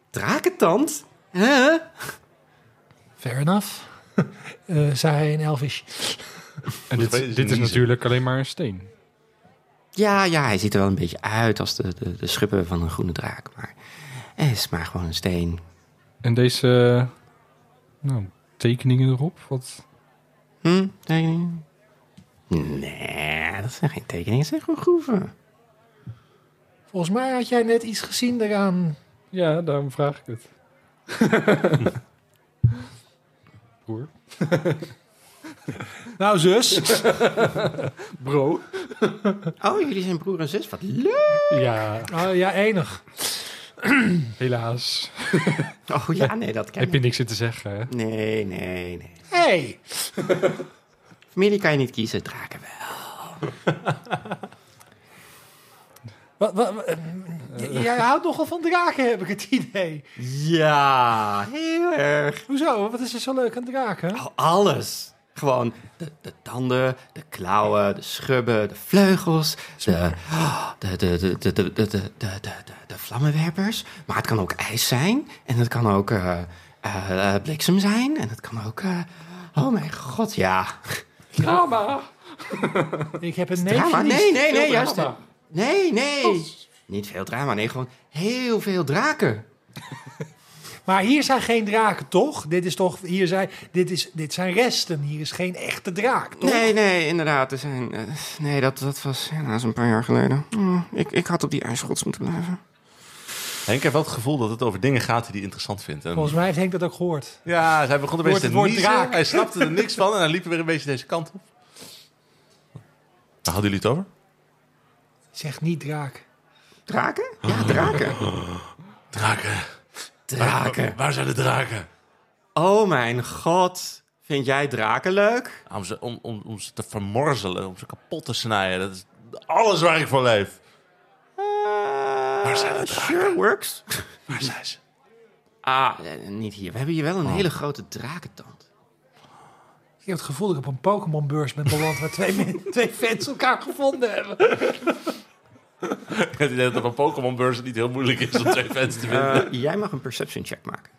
S4: drakentand? Huh?
S2: Fair *laughs* enough, Eh zei hij in Elvish.
S1: En
S5: dit-
S1: dit,
S5: dit is
S1: is natuurlijk alleen maar een steen.
S4: Ja, ja, hij ziet er wel een beetje uit als de, de, de schuppen van een groene draak. Maar het is maar gewoon een steen.
S1: En deze eh, nou, tekeningen erop. Wat,
S4: Hm, tekeningen? Nee, dat zijn geen tekeningen, dat zijn gewoon groeven.
S2: Volgens mij had jij net iets gezien daaraan.
S1: ja, daarom vraag ik het. *laughs* Broer.
S2: Nou, zus.
S1: Bro.
S4: Oh, jullie zijn broer en zus? Wat leuk!
S1: Ja,
S2: *laughs* Oh, ja, enig.
S1: helaas.
S4: Oh ja, nee, dat ken
S1: Heb je
S4: ik.
S1: niks in te zeggen, hè?
S4: Nee, nee, nee.
S2: Hey.
S4: Familie kan je niet kiezen, draken wel.
S2: Wat, wat, wat, eh, j- jij houdt nogal van draken, heb ik het idee.
S4: Ja, heel erg.
S2: Hoezo? Wat is er zo leuk aan draken?
S4: Al- Oh, Alles. Gewoon de, de tanden, de klauwen, de schubben, de vleugels, de, de, de, de, de, de, de, de, de, de, de, de vlammenwerpers. Maar het kan ook ijs zijn en het kan ook eh, eh, eh, bliksem zijn en het kan ook... eh, oh mijn god, ja.
S2: Ik
S1: Drama!
S2: *laughs* Ik heb een neefje.
S4: Drama?
S2: die-
S4: Nee, nee, nee,
S1: Veel
S4: juist.
S1: drama.
S4: Nee, nee. Niet veel drama, nee, gewoon heel veel draken.
S2: Maar hier zijn geen draken, toch? Dit is toch, hier zijn, dit is, dit zijn resten. Hier is geen echte draak, toch?
S4: Nee, nee, inderdaad. Er zijn, eh, nee, dat, dat was helaas een paar jaar geleden. Mm, ik, ik had op die ijsgrots moeten blijven.
S5: Henk heeft wel het gevoel dat het over dingen gaat die hij interessant vindt. En-
S2: Volgens mij heeft Henk dat ook gehoord.
S5: Ja, hij begon een beetje
S2: het
S5: te
S2: woord
S5: niezen.
S2: draak.
S5: Hij snapte er niks van en hij liep weer een beetje deze kant op. Waar hadden jullie het over?
S2: Zeg niet draak.
S4: Draken? Ja, draken.
S5: Draken.
S4: Draken.
S5: Waar zijn de draken?
S4: Oh mijn god. Vind jij draken leuk?
S5: Ah, Om ze, om, om, om ze te vermorzelen, om ze kapot te snijden. Dat is alles waar ik voor leef.
S4: Waar
S5: zijn de
S4: Eh, Sure works.
S5: Waar zijn ze? Oh.
S4: Ah, eh, niet hier. We hebben hier wel een hele grote drakentand.
S2: Ik heb het gevoel dat ik op een Pokémon-beurs ben beland... waar twee, men-
S4: *laughs*
S2: twee fans elkaar gevonden hebben.
S5: Ik heb *laughs* het idee dat op een Pokémon-beurs het niet heel moeilijk is om *laughs* twee fans te vinden.
S4: Eh, jij mag een perception check maken.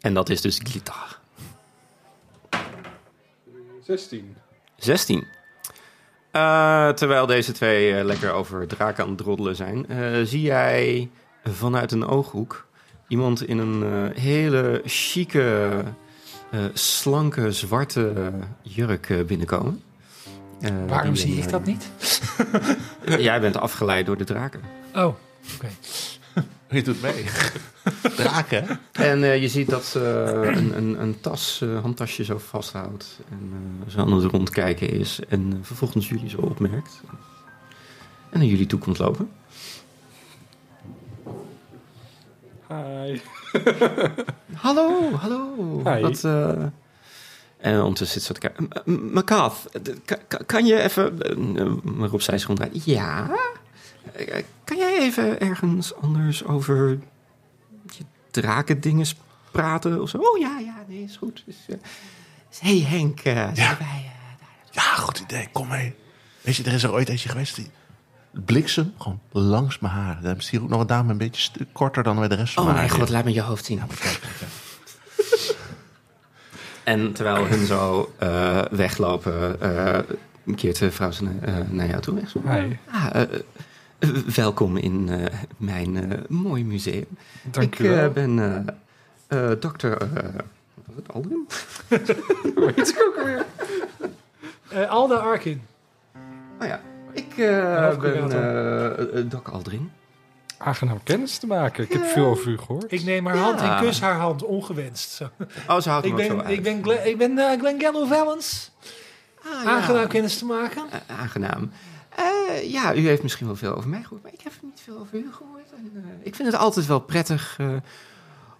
S4: En dat is dus gitaar.
S1: 16.
S4: 16. Eh, terwijl deze twee eh, lekker over draken aan het droddelen zijn, eh, zie jij vanuit een ooghoek iemand in een eh, hele chique, eh, slanke, zwarte jurk eh, binnenkomen. Eh,
S2: Waarom
S4: die
S2: zie
S4: een,
S2: ik dat niet?
S4: eh, *laughs* Jij bent afgeleid door de draken.
S2: Oh, oké.
S5: Je doet mee. Draken, hè?
S4: En eh, je ziet dat ze eh, een, een, een tas, eh, handtasje zo vasthoudt. En eh, zo aan het rondkijken is. En eh, vervolgens jullie zo opmerkt. En naar jullie toe komt lopen.
S1: Hi.
S4: Hallo, hallo.
S1: Hi.
S4: Wat, eh, En ondertussen zit ze te kijken. M- M- Makath, d- ka- ka- kan je even... eh, Maar opzij zich ronddraait. Ja? Eh, eh, Kan jij even ergens anders over je drakendingen praten of zo? Oh ja, ja, nee, is goed. Is, eh, is- hey Henk, eh, zijn wij... eh, daar?
S5: Ja, goed idee. Kom mee. Weet je, er is er ooit eentje geweest die... Bliksem, gewoon langs mijn haar. Dan is hier ook nog een dame een beetje stu- korter dan bij de rest van
S4: Oh
S5: mijn
S4: mijn
S5: haar.
S4: god, laat me je hoofd zien. *laughs* en terwijl hun zo eh, weglopen, eh, keert de vrouw ze naar, eh, naar jou toe. en zo.
S1: Hi.
S4: Ah, eh, eh, welkom in eh, mijn eh, mooi museum.
S1: Dank
S4: ik
S1: u wel.
S4: eh, ben eh, eh, dokter... eh was het Aldrin? Hoe heet ze ook alweer?
S2: Eh, Alda Arkin.
S4: Oh ja, ik eh, ben
S2: Hoofdcurator.
S4: eh, eh, Doc Aldrin.
S1: Aangenaam kennis te maken. Ik heb veel over u gehoord.
S2: Ik neem haar hand en kus haar hand, ongewenst. Zo.
S4: Oh, ze houdt
S2: Ik
S4: hem ook zo
S2: ben,
S4: uit.
S2: ik ben, Glen, ik ben eh, Glen Gallo Valens.
S4: Ah, ja.
S2: Aangenaam kennis te maken.
S4: Eh, aangenaam. Eh, ja, u heeft misschien wel veel over mij gehoord, maar ik heb niet veel over u gehoord. En, eh, ik vind het altijd wel prettig eh,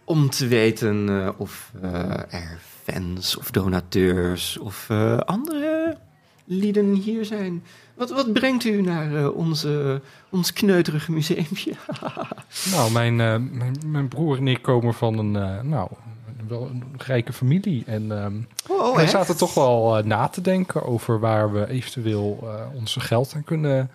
S4: om te weten eh, of eh, er fans of donateurs of eh, andere lieden hier zijn. Wat, wat brengt u naar eh, onze, ons kneuterige museumpje?
S1: Nou, mijn, eh, mijn, mijn broer en ik komen van een, eh, nou, wel een rijke familie. En ehm
S4: Oh,
S1: wij
S4: echt?
S1: zaten toch wel eh, na te denken over waar we eventueel eh onze geld aan kunnen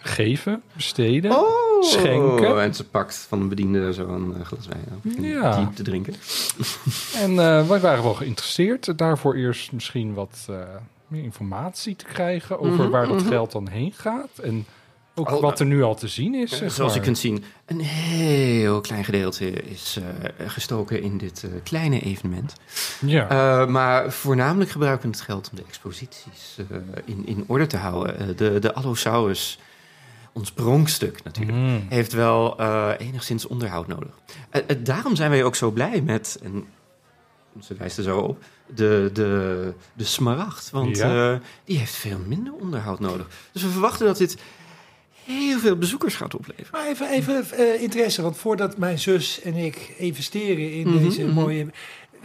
S1: geven, besteden.
S4: Oh,
S1: Schenken.
S4: En ze pakt van een bediende zo'n eh, glas wijn op. en
S1: Ja.
S4: Die te drinken.
S1: En eh, wij waren wel geïnteresseerd. Daarvoor eerst misschien wat eh, meer informatie te krijgen over
S4: Mhm,
S1: waar dat
S4: mhm.
S1: geld dan heen gaat. En ook
S4: Oh,
S1: wat er nu al te zien is.
S4: Eh,
S1: zeg
S4: Zoals u
S1: maar.
S4: kunt zien, een heel klein gedeelte is eh, gestoken in dit eh, kleine evenement.
S1: Ja.
S4: Eh, maar voornamelijk gebruiken we het geld om de exposities eh, in, in orde te houden. Eh, de, de Allosaurus, ons pronkstuk natuurlijk,
S1: Mm.
S4: heeft wel eh, enigszins onderhoud nodig. Eh, eh, daarom zijn wij ook zo blij met, en ze wijst er zo op, de, de, de smaragd. Want
S1: Ja.
S4: eh, die heeft veel minder onderhoud nodig. Dus we verwachten dat dit heel veel bezoekers gaat opleveren.
S2: Maar even, even eh, interesse, want voordat mijn zus en ik investeren in
S4: Mhm,
S2: deze
S4: mhm.
S2: mooie...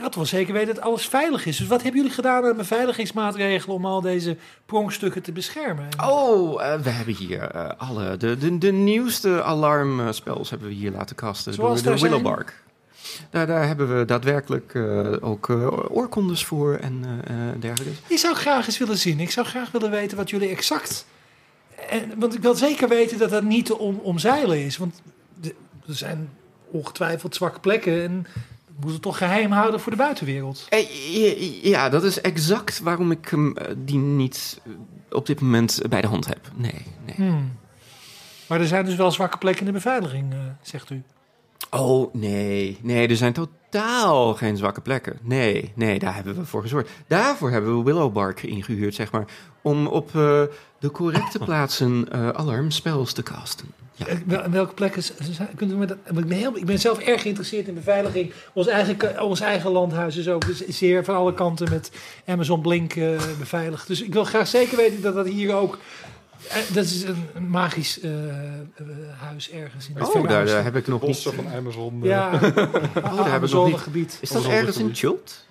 S2: Dat wel zeker weten dat alles veilig is. Dus wat hebben jullie gedaan aan beveiligingsmaatregelen om al deze pronkstukken te beschermen?
S4: Oh, eh, we hebben hier eh, alle, de, de, de nieuwste alarmspels hebben we hier laten kasten
S2: Zoals
S4: door
S2: daar
S4: de
S2: zijn?
S4: Willowbark. Daar, daar hebben we daadwerkelijk eh, ook eh, oorkondes voor en eh, eh, dergelijke.
S2: Die zou ik graag eens willen zien. Ik zou graag willen weten wat jullie exact... En, want ik wil zeker weten dat dat niet te om, omzeilen is. Want de- er zijn ongetwijfeld zwakke plekken. En moet het toch geheim houden voor de buitenwereld.
S4: Eh, ja, Ja, dat is exact waarom ik hem eh, die niet eh, op dit moment bij de hand heb. Nee, nee.
S2: Hmm. Maar er zijn dus wel zwakke plekken in de beveiliging, eh, zegt u.
S4: Oh, nee. Nee, er zijn totaal geen zwakke plekken. Nee, nee, daar hebben we voor gezorgd. Daarvoor hebben we Willowbark ingehuurd, zeg maar. Om op eh, de correcte
S2: Oh.
S4: plaatsen eh alarmspels te casten. Ja.
S2: Eh, wel- welke plekken z- z- kunt u me dat, want ik, ben heel, ik ben zelf erg geïnteresseerd in beveiliging. Ons eigen, ka- ons eigen landhuis is ook z- zeer van alle kanten met Amazon Blink eh, beveiligd. Dus ik wil graag zeker weten dat dat hier ook. eh, dat is een een magisch eh, eh, huis ergens in het
S4: Oh,
S2: verre
S4: daar,
S2: oosten.
S4: daar Oh, heb ik nog niet...
S1: Bossen van Amazon. eh,
S4: *laughs*
S2: Ja,
S4: nog
S2: Amazonegebied.
S4: niet.
S2: gebied.
S4: Is dat
S1: Zonder
S4: ergens in
S1: gebied.
S4: Chult?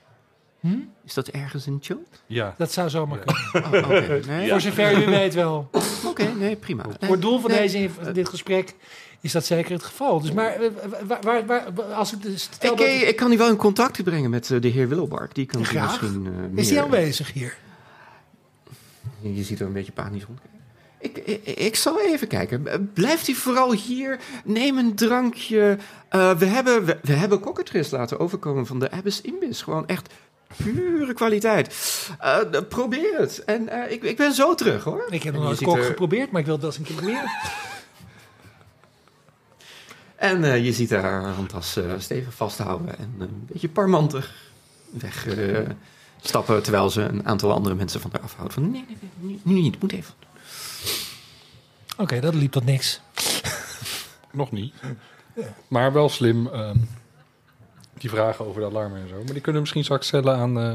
S2: Hm?
S4: Is dat ergens in
S2: *laughs*
S4: Chult?
S1: ja.
S2: Dat zou zomaar
S1: Ja.
S2: kunnen.
S4: Oh, oké. Nee?
S2: Voor zover
S4: *laughs*
S2: u weet wel.
S4: Oké, nee, prima.
S2: Voor het doel van
S4: Nee.
S2: deze, dit gesprek is dat zeker het geval. Dus maar eh, waar, waar, waar- als ik de stel
S4: Ik,
S2: dat-
S4: eh, ik kan u wel in contact brengen met eh, de heer Willowbark. Die kan u
S2: Graag.
S4: misschien eh, meer...
S2: is die aanwezig hier?
S4: Je ziet er een beetje panisch rondkijken. Ik, ik, ik zal even kijken. B- Blijft u vooral hier? Neem een drankje. Eh, we hebben, we, we hebben cockatrice laten overkomen van de Abbas Imbis. Gewoon echt pure kwaliteit. Eh, d- probeer het. En eh, ik, ik ben zo terug, hoor.
S2: Ik heb
S4: En
S2: nog
S4: je
S2: nooit
S4: ziet
S2: kok
S4: er-
S2: geprobeerd, maar ik wil het wel eens een keer
S1: *laughs*
S2: meer.
S4: En eh, je ziet haar handtas eh, stevig vasthouden. En een beetje parmantig wegstappen. stappen terwijl ze een aantal andere mensen van haar afhoudt. Van, nee, nee, nee, nu, nu niet. Moet even.
S2: Oké, dat liep tot niks.
S1: Nog niet. Maar wel slim. ehm, die vragen over de alarmen en zo. Maar die kunnen we misschien straks stellen aan eh,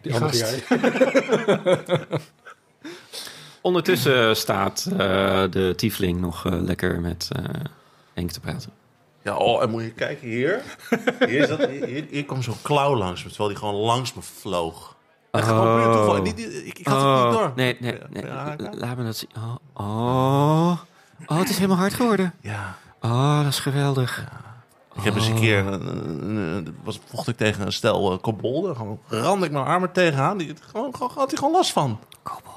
S1: die
S2: Die
S1: andere
S2: gast.
S1: guy.
S4: Ondertussen staat eh, de tiefling nog eh, lekker met eh Henk te praten.
S5: Ja, oh, en moet je kijken hier. Hier, is dat, hier, hier- hier kwam zo'n klauw langs me, terwijl die gewoon langs me vloog. En gewoon puur toeval. Niet- niet- ik, ik had het niet door.
S4: Oh. Nee, nee, nee.
S5: Ja, ja.
S4: Laat me dat zien. Oh, oh. Oh, het is helemaal hard geworden.
S5: Ja,
S4: Oh, dat is geweldig.
S5: ik heb eens een keer, eh, eh, eh, was, vocht ik tegen een stel eh kobolden. Gewoon rand ik mijn armen tegenaan. Die, gewoon, gewoon, had hij gewoon last van.
S4: Kobolden.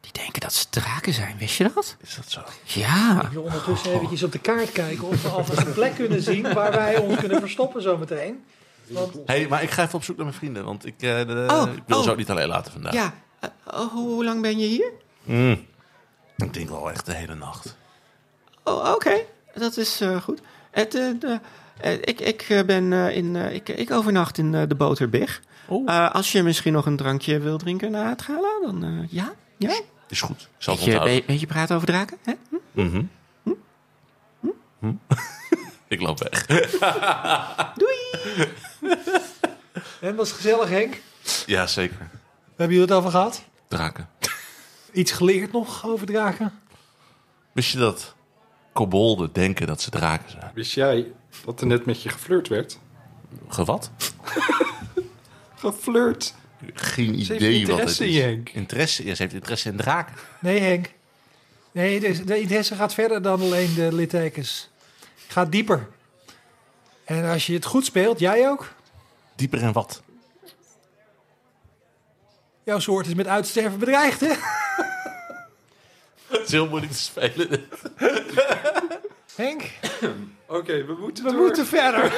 S4: Die denken dat ze draken zijn, wist je dat?
S5: Is dat zo?
S4: Ja.
S2: Ik wil ondertussen
S1: Oh.
S2: eventjes op de kaart kijken of we alvast een plek kunnen zien waar wij ons kunnen verstoppen zometeen. Want
S5: hey, maar ik ga even op zoek naar mijn vrienden. Want ik, eh, de-
S4: Oh,
S5: ik wil
S4: oh.
S5: ze ook niet alleen laten vandaag.
S4: Ja. eh, oh, hoe, hoe lang ben je hier?
S5: Mm. Ik denk wel echt de hele nacht.
S4: Oh, oké. Dat is eh, goed. Het, eh, de- eh, ik, ik, eh, ben, eh, in, eh, ik, ik overnacht in eh, de Boterbig.
S5: Oh.
S4: Eh, als je misschien nog een drankje wil drinken na het gala, dan eh, ja. ja.
S5: Is goed. Ik eh, zal het
S4: Weet je,
S5: onthouden.
S4: weet, weet je praten over draken? Hè?
S5: Mhm. Hm? *laughs* ik loop weg.
S2: het was gezellig, Henk. We
S5: Ja, zeker.
S2: hebben jullie het over gehad.
S5: Draken.
S2: Iets geleerd nog over draken?
S5: Wist je dat kobolden denken dat ze draken zijn?
S1: Wist jij dat er net met je geflirt werd?
S5: Gewat?
S1: Geflirt?
S5: Geen
S1: Ze heeft
S5: idee wat het is.
S1: interesse in je, Henk.
S5: Interesse, ja, ze heeft interesse in draken.
S2: Nee, Henk. Nee, de, de interesse gaat verder dan alleen de littekens. Gaat dieper. En als je het goed speelt, jij ook.
S5: Dieper in wat?
S2: Jouw soort is met uitsterven bedreigd, hè?
S5: *laughs* Het is heel moeilijk te spelen.
S2: Henk,
S1: Oké, we moeten
S2: we
S1: door.
S2: moeten verder.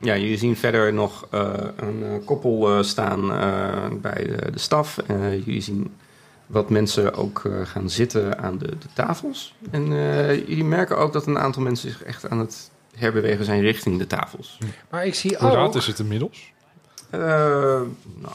S4: Ja, jullie zien verder nog eh, een eh, koppel eh, staan eh, bij de, de staf. Eh, jullie zien wat mensen ook eh, gaan zitten aan de, de tafels. En eh, jullie merken ook dat een aantal mensen zich echt aan het herbewegen zijn richting de tafels.
S2: Maar ik zie oh,
S1: Hoe laat
S2: ook...
S1: is het inmiddels?
S4: Eh, nou,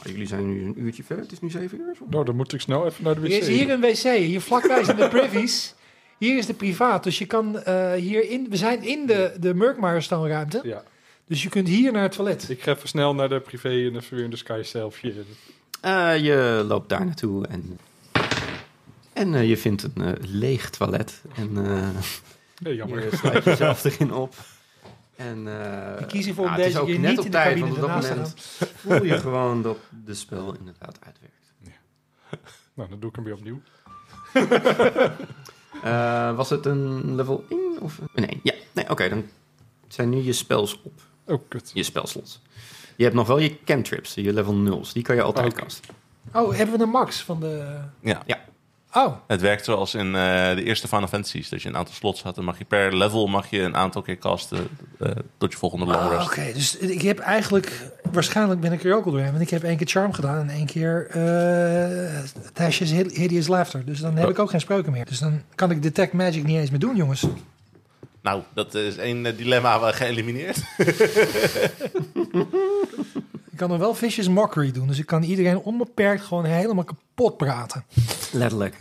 S4: jullie zijn nu een uurtje verder. Het is nu zeven uur. zo.
S1: Nou, dan moet ik snel even naar de wc.
S2: Er is hier een wc, hier vlakbij zijn de privies. Hier is de privaat, dus je kan eh, hier in... We zijn in de, de Murkmaarstoonruimte,
S1: Ja,
S2: dus je kunt hier naar het toilet.
S1: ik ga even snel naar de privé en even weer in de sky selfie.
S4: Eh, je loopt daar naartoe en, en eh, je vindt een eh, leeg toilet. En eh,
S1: Nee, jammer.
S4: je
S2: *laughs*
S4: sluit jezelf erin op. En, eh,
S2: We kiezen voor om
S4: het is
S2: deze
S4: ook
S2: keer
S4: net
S2: niet
S4: op
S2: in de
S4: tijd,
S2: cabine
S4: want op
S2: ernaast
S4: dat
S2: te
S4: moment *laughs* voel je gewoon dat de spel inderdaad uitwerkt.
S1: Nou, dan doe ik hem weer opnieuw.
S4: Eh, was het een level 1 of een 1? Ja, nee, oké, dan zijn nu je spels op.
S1: Oh, kut.
S4: Je spelslots. Je hebt nog wel je cantrips, je level 0's. Die kan je altijd
S1: Oké.
S4: casten.
S2: Oh, hebben we een max van de...
S5: Ja.
S4: Ja.
S2: Oh,
S3: Het werkt zoals in eh, de eerste Final Fantasy's. Dat je een aantal slots had. Dan mag je per level mag je een aantal keer casten eh, tot je volgende long
S2: Ah,
S3: rest.
S2: Oké, dus ik heb eigenlijk... Waarschijnlijk ben ik er ook al doorheen. Want ik heb één keer Charm gedaan en één keer eh Tasha's Hid- Hideous Laughter. Dus dan heb ik ook geen spreuken meer. Dus dan kan ik Detect Magic niet eens meer doen, jongens.
S3: Nou, dat is één eh, dilemma wel geëlimineerd.
S2: Ik kan er wel Vicious Mockery doen. Dus ik kan iedereen onbeperkt gewoon helemaal kapot praten.
S4: Letterlijk.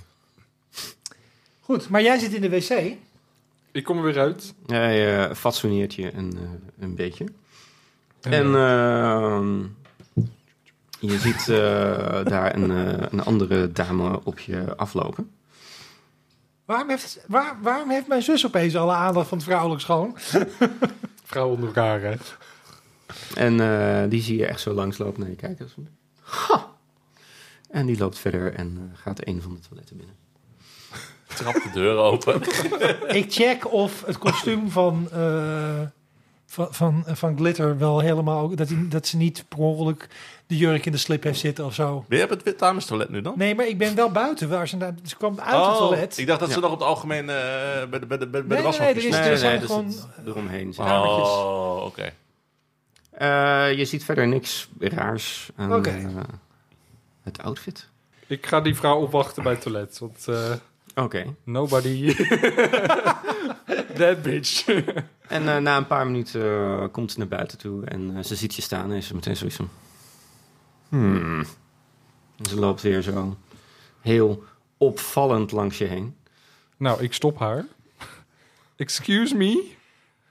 S2: Goed, maar jij zit in de wc.
S1: Ik kom er weer uit.
S4: Hij eh fatsoeneert je een, eh, een beetje. En
S1: eh,
S4: ehm, je ziet eh, *laughs* daar een, eh, een andere dame op je aflopen.
S2: Waarom heeft, waar, waarom heeft mijn zus opeens alle aandacht van het vrouwelijk schoon?
S1: Vrouwen onder elkaar, hè?
S4: En eh, die zie je echt zo langslopen naar je kijkers. Ha! En die loopt verder en eh, gaat een van de toiletten binnen.
S3: Trap de deur
S2: *laughs*
S3: open.
S2: Ik check of het kostuum van, eh, van, van, van Glitter wel helemaal... Dat, hij- dat ze niet per ongeluk de jurk in de slip heeft zitten of zo.
S3: Weer op het wit damestoilet nu dan?
S2: Nee, maar ik ben wel buiten. Waar ze, naar- ze kwam uit het
S3: Oh,
S2: toilet.
S3: Ik dacht dat ze
S4: Ja.
S3: nog op het algemeen eh, bij de, bij de, bij de
S2: Nee, nee,
S3: washokjes
S2: nee, Dus er is-
S3: zaten.
S2: er zijn gewoon-
S4: zit eromheen. zit kamertjes.
S3: Oh, oké.
S4: Eh, je ziet verder niks raars aan
S2: Oké.
S4: eh, het outfit.
S1: Ik ga die vrouw opwachten bij het toilet. Want eh,
S4: Oké.
S1: *laughs* nobody... That bitch.
S4: En eh, na een paar minuten eh, komt ze naar buiten toe en eh, ze ziet je staan en is ze meteen zoiets van... Hmm. En ze loopt weer zo heel opvallend langs je heen.
S1: nou, ik stop haar. Excuse me?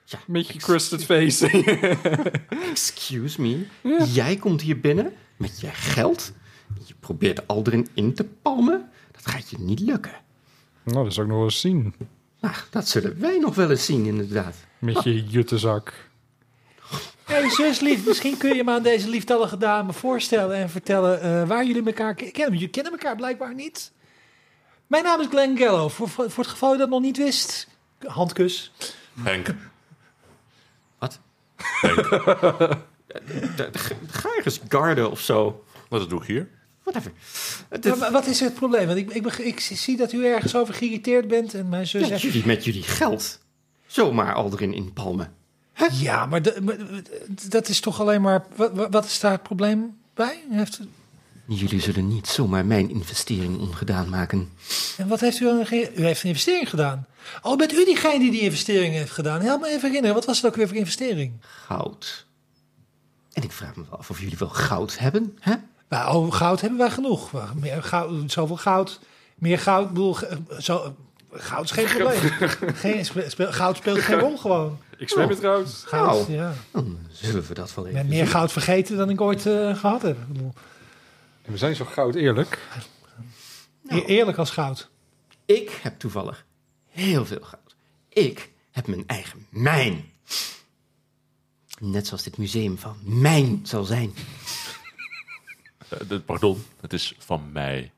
S4: Ja,
S1: Met je crusted face. *laughs*
S4: Excuse me,
S1: Ja.
S4: jij komt hier binnen met je geld. Je probeert Aldrin in te palmen. Dat gaat je niet lukken.
S1: nou, dat zou ik nog wel eens zien.
S4: Nou, dat zullen wij nog wel eens zien inderdaad.
S1: Met je juttenzak.
S2: Hey zus lief, misschien kun je me aan deze lieftallige dame voorstellen en vertellen eh, waar jullie elkaar ke- kennen. Jullie kennen elkaar blijkbaar niet. Mijn naam is Glenn Gallo, voor, voor voor het geval je dat nog niet wist. Handkus.
S3: Henk.
S4: Wat?
S3: Henk.
S4: D- g- Ga ergens garden of zo.
S3: Wat doe ik hier?
S4: Whatever. Het-
S2: Maar- maar wat is het probleem? Want ik, ik, beg- ik zie dat u ergens over geïrriteerd bent en mijn zus
S4: Ja,
S2: zegt...
S4: jullie met jullie geld. Zomaar Aldrin in palmen.
S2: Ja, maar, de- maar- dat is toch alleen maar... Wat, wat- wat is daar het probleem bij? Heeft,
S4: Jullie zullen niet zomaar mijn investering ongedaan maken.
S2: en wat heeft u aan... ge- U heeft een investering gedaan. Oh, bent u diegene die die investering heeft gedaan? Help me even herinneren, wat was het ook weer voor investering?
S4: Goud. En ik vraag me wel af of jullie wel goud hebben, hè?
S2: Nou, oh, goud hebben wij genoeg. We- Meer goud, zoveel goud. Meer goud, ik bedoel, ge- eh, zo, goud is geen probleem. Geen, spe- speel- goud speelt geen rol gewoon.
S1: Ik zwem het trouwens.
S2: Goud,
S4: Nou.
S2: ja.
S4: Dan zullen we dat wel
S2: Ik ben
S4: even
S2: meer
S4: zien.
S2: goud vergeten dan ik ooit eh, gehad heb. Ik bedoel,
S1: We zijn zo goud eerlijk.
S2: e- Eerlijk als goud.
S4: Ik heb toevallig heel veel goud. Ik heb mijn eigen mijn. Net zoals dit museum van mijn zal zijn.
S3: Eh, dit- pardon, het is van *laughs* mij.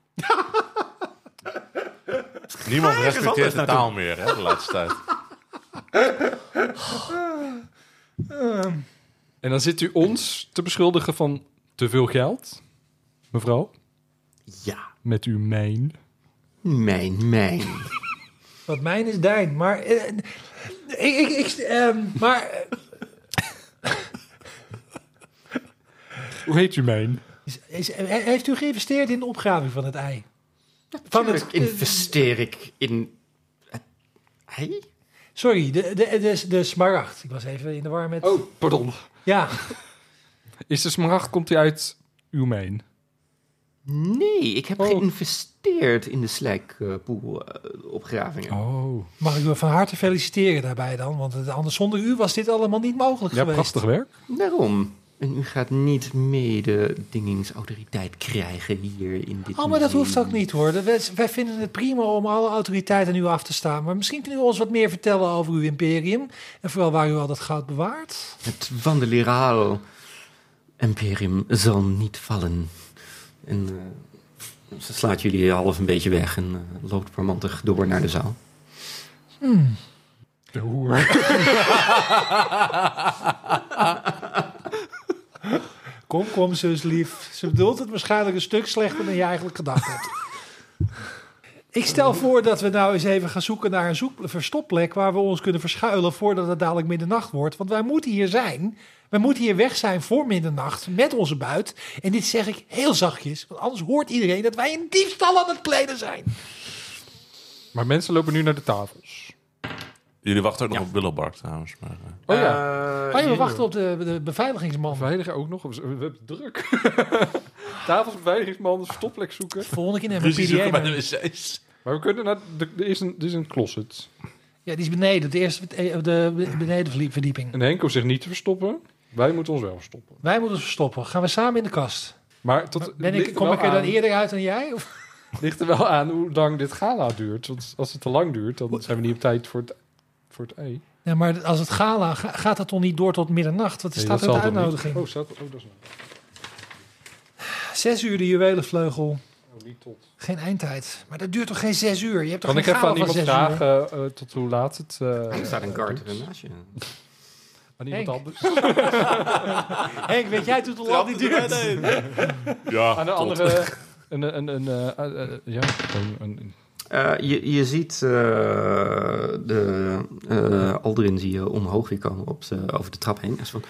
S3: Niemand respecteert de taal meer hè, de laatste tijd.
S1: En dan zit u ons te beschuldigen van te veel geld. Mevrouw,
S4: Ja,
S1: met uw mijn.
S4: mijn, mijn.
S2: Wat mijn is dijn, maar... eh, ik, ik, ik, ehm, maar eh,
S1: Hoe heet u mijn?
S2: is, is- he- heeft u geïnvesteerd in de opgraving van het ei? Van het,
S4: Natuurlijk investeer ik in het ei?
S2: sorry, de, de, de, de smaragd. Ik was even in de war met...
S1: Oh, pardon.
S2: Ja,
S1: Is de smaragd, komt hij uit uw mijn?
S4: Nee, ik heb
S1: Oh.
S4: geïnvesteerd in de slijkpoelopgravingen.
S1: Oh.
S2: Mag ik u van harte feliciteren daarbij dan? Want het- anders zonder u was dit allemaal niet mogelijk
S1: Ja,
S2: geweest.
S1: prachtig werk.
S4: Daarom. En u gaat niet mede dingingsautoriteit krijgen hier in
S2: Oh,
S4: dit
S2: maar dat
S4: museum.
S2: hoeft ook niet hoor. Wij, wij vinden het prima om alle autoriteit aan u af te staan. Maar misschien kunnen u ons wat meer vertellen over uw imperium. En vooral waar u al dat goud bewaart.
S4: Het Wandeleraal Imperium zal niet vallen. En eh, ze slaat jullie half een beetje weg en eh, loopt parmantig door naar de zaal.
S1: De hoer.
S2: Kom, kom, zus lief. Ze bedoelt het waarschijnlijk een stuk slechter dan je eigenlijk gedacht hebt. Ik stel voor dat we nou eens even gaan zoeken naar een zoek- verstopplek waar we ons kunnen verschuilen voordat het dadelijk middernacht wordt. Want wij moeten hier zijn. Wij moeten hier weg zijn voor middernacht met onze buit. En dit zeg ik heel zachtjes, want anders hoort iedereen dat wij een diefstal aan het kleden zijn.
S1: Maar mensen lopen nu naar de tafels.
S3: Jullie wachten ook nog op Willowbark trouwens. Maar, eh,
S1: Oh ja,
S2: Maar we wachten op de, de beveiligingsman.
S1: beveiligen ook nog. We hebben druk. *laughs* tafels, beveiligingsman, verstopplek zoeken.
S2: Volgende keer hebben we
S3: ruzie zoeken bij
S2: PDA.
S3: de wc's.
S1: Maar we kunnen naar... de- Er is een, er is een closet.
S2: Ja, die is beneden. De eerste eh, de benedenverdieping.
S1: En Henk hoeft zich niet te verstoppen. Wij moeten ons wel verstoppen.
S2: Wij moeten ons verstoppen. Gaan we samen in de kast?
S1: Maar tot,
S2: Ben
S1: ligt
S2: ik,
S1: er
S2: kom
S1: wel
S2: ik er dan
S1: aan-
S2: eerder uit dan jij? Of?
S1: ligt er wel aan hoe lang dit gala duurt. Want als het te lang duurt, dan zijn we niet op tijd voor het, voor het E. ei.
S2: Ja, maar als het gala, ga- gaat dat dan niet door tot middernacht? Wat
S1: Nee,
S2: staat er
S1: zal
S2: in de
S1: dan niet.
S2: uitnodiging?
S1: Oh, staat, oh, dat is nou-
S2: Zes uur de juwelenvleugel.
S1: oh, niet tot.
S2: Geen eindtijd. Maar dat duurt toch geen zes uur? Je hebt toch
S1: Kan ik
S2: geen
S1: even aan
S2: gala van
S1: iemand
S2: zes uur?
S1: vragen eh, tot hoe laat het... eh,
S4: Er staat een guard ernaast je.
S1: aan iemand
S2: Henk.
S1: anders? *laughs*
S2: Henk, weet jij tot hoe lang die duurt?
S3: *laughs* Ja,
S1: Aan de
S3: tot.
S1: andere... Een, een, een, eh, eh, eh, ja, gewoon een,
S4: Eh, je, je ziet eh, de, eh, Aldrin zie je omhoog weer komen op de, over de trap heen. Hij is van,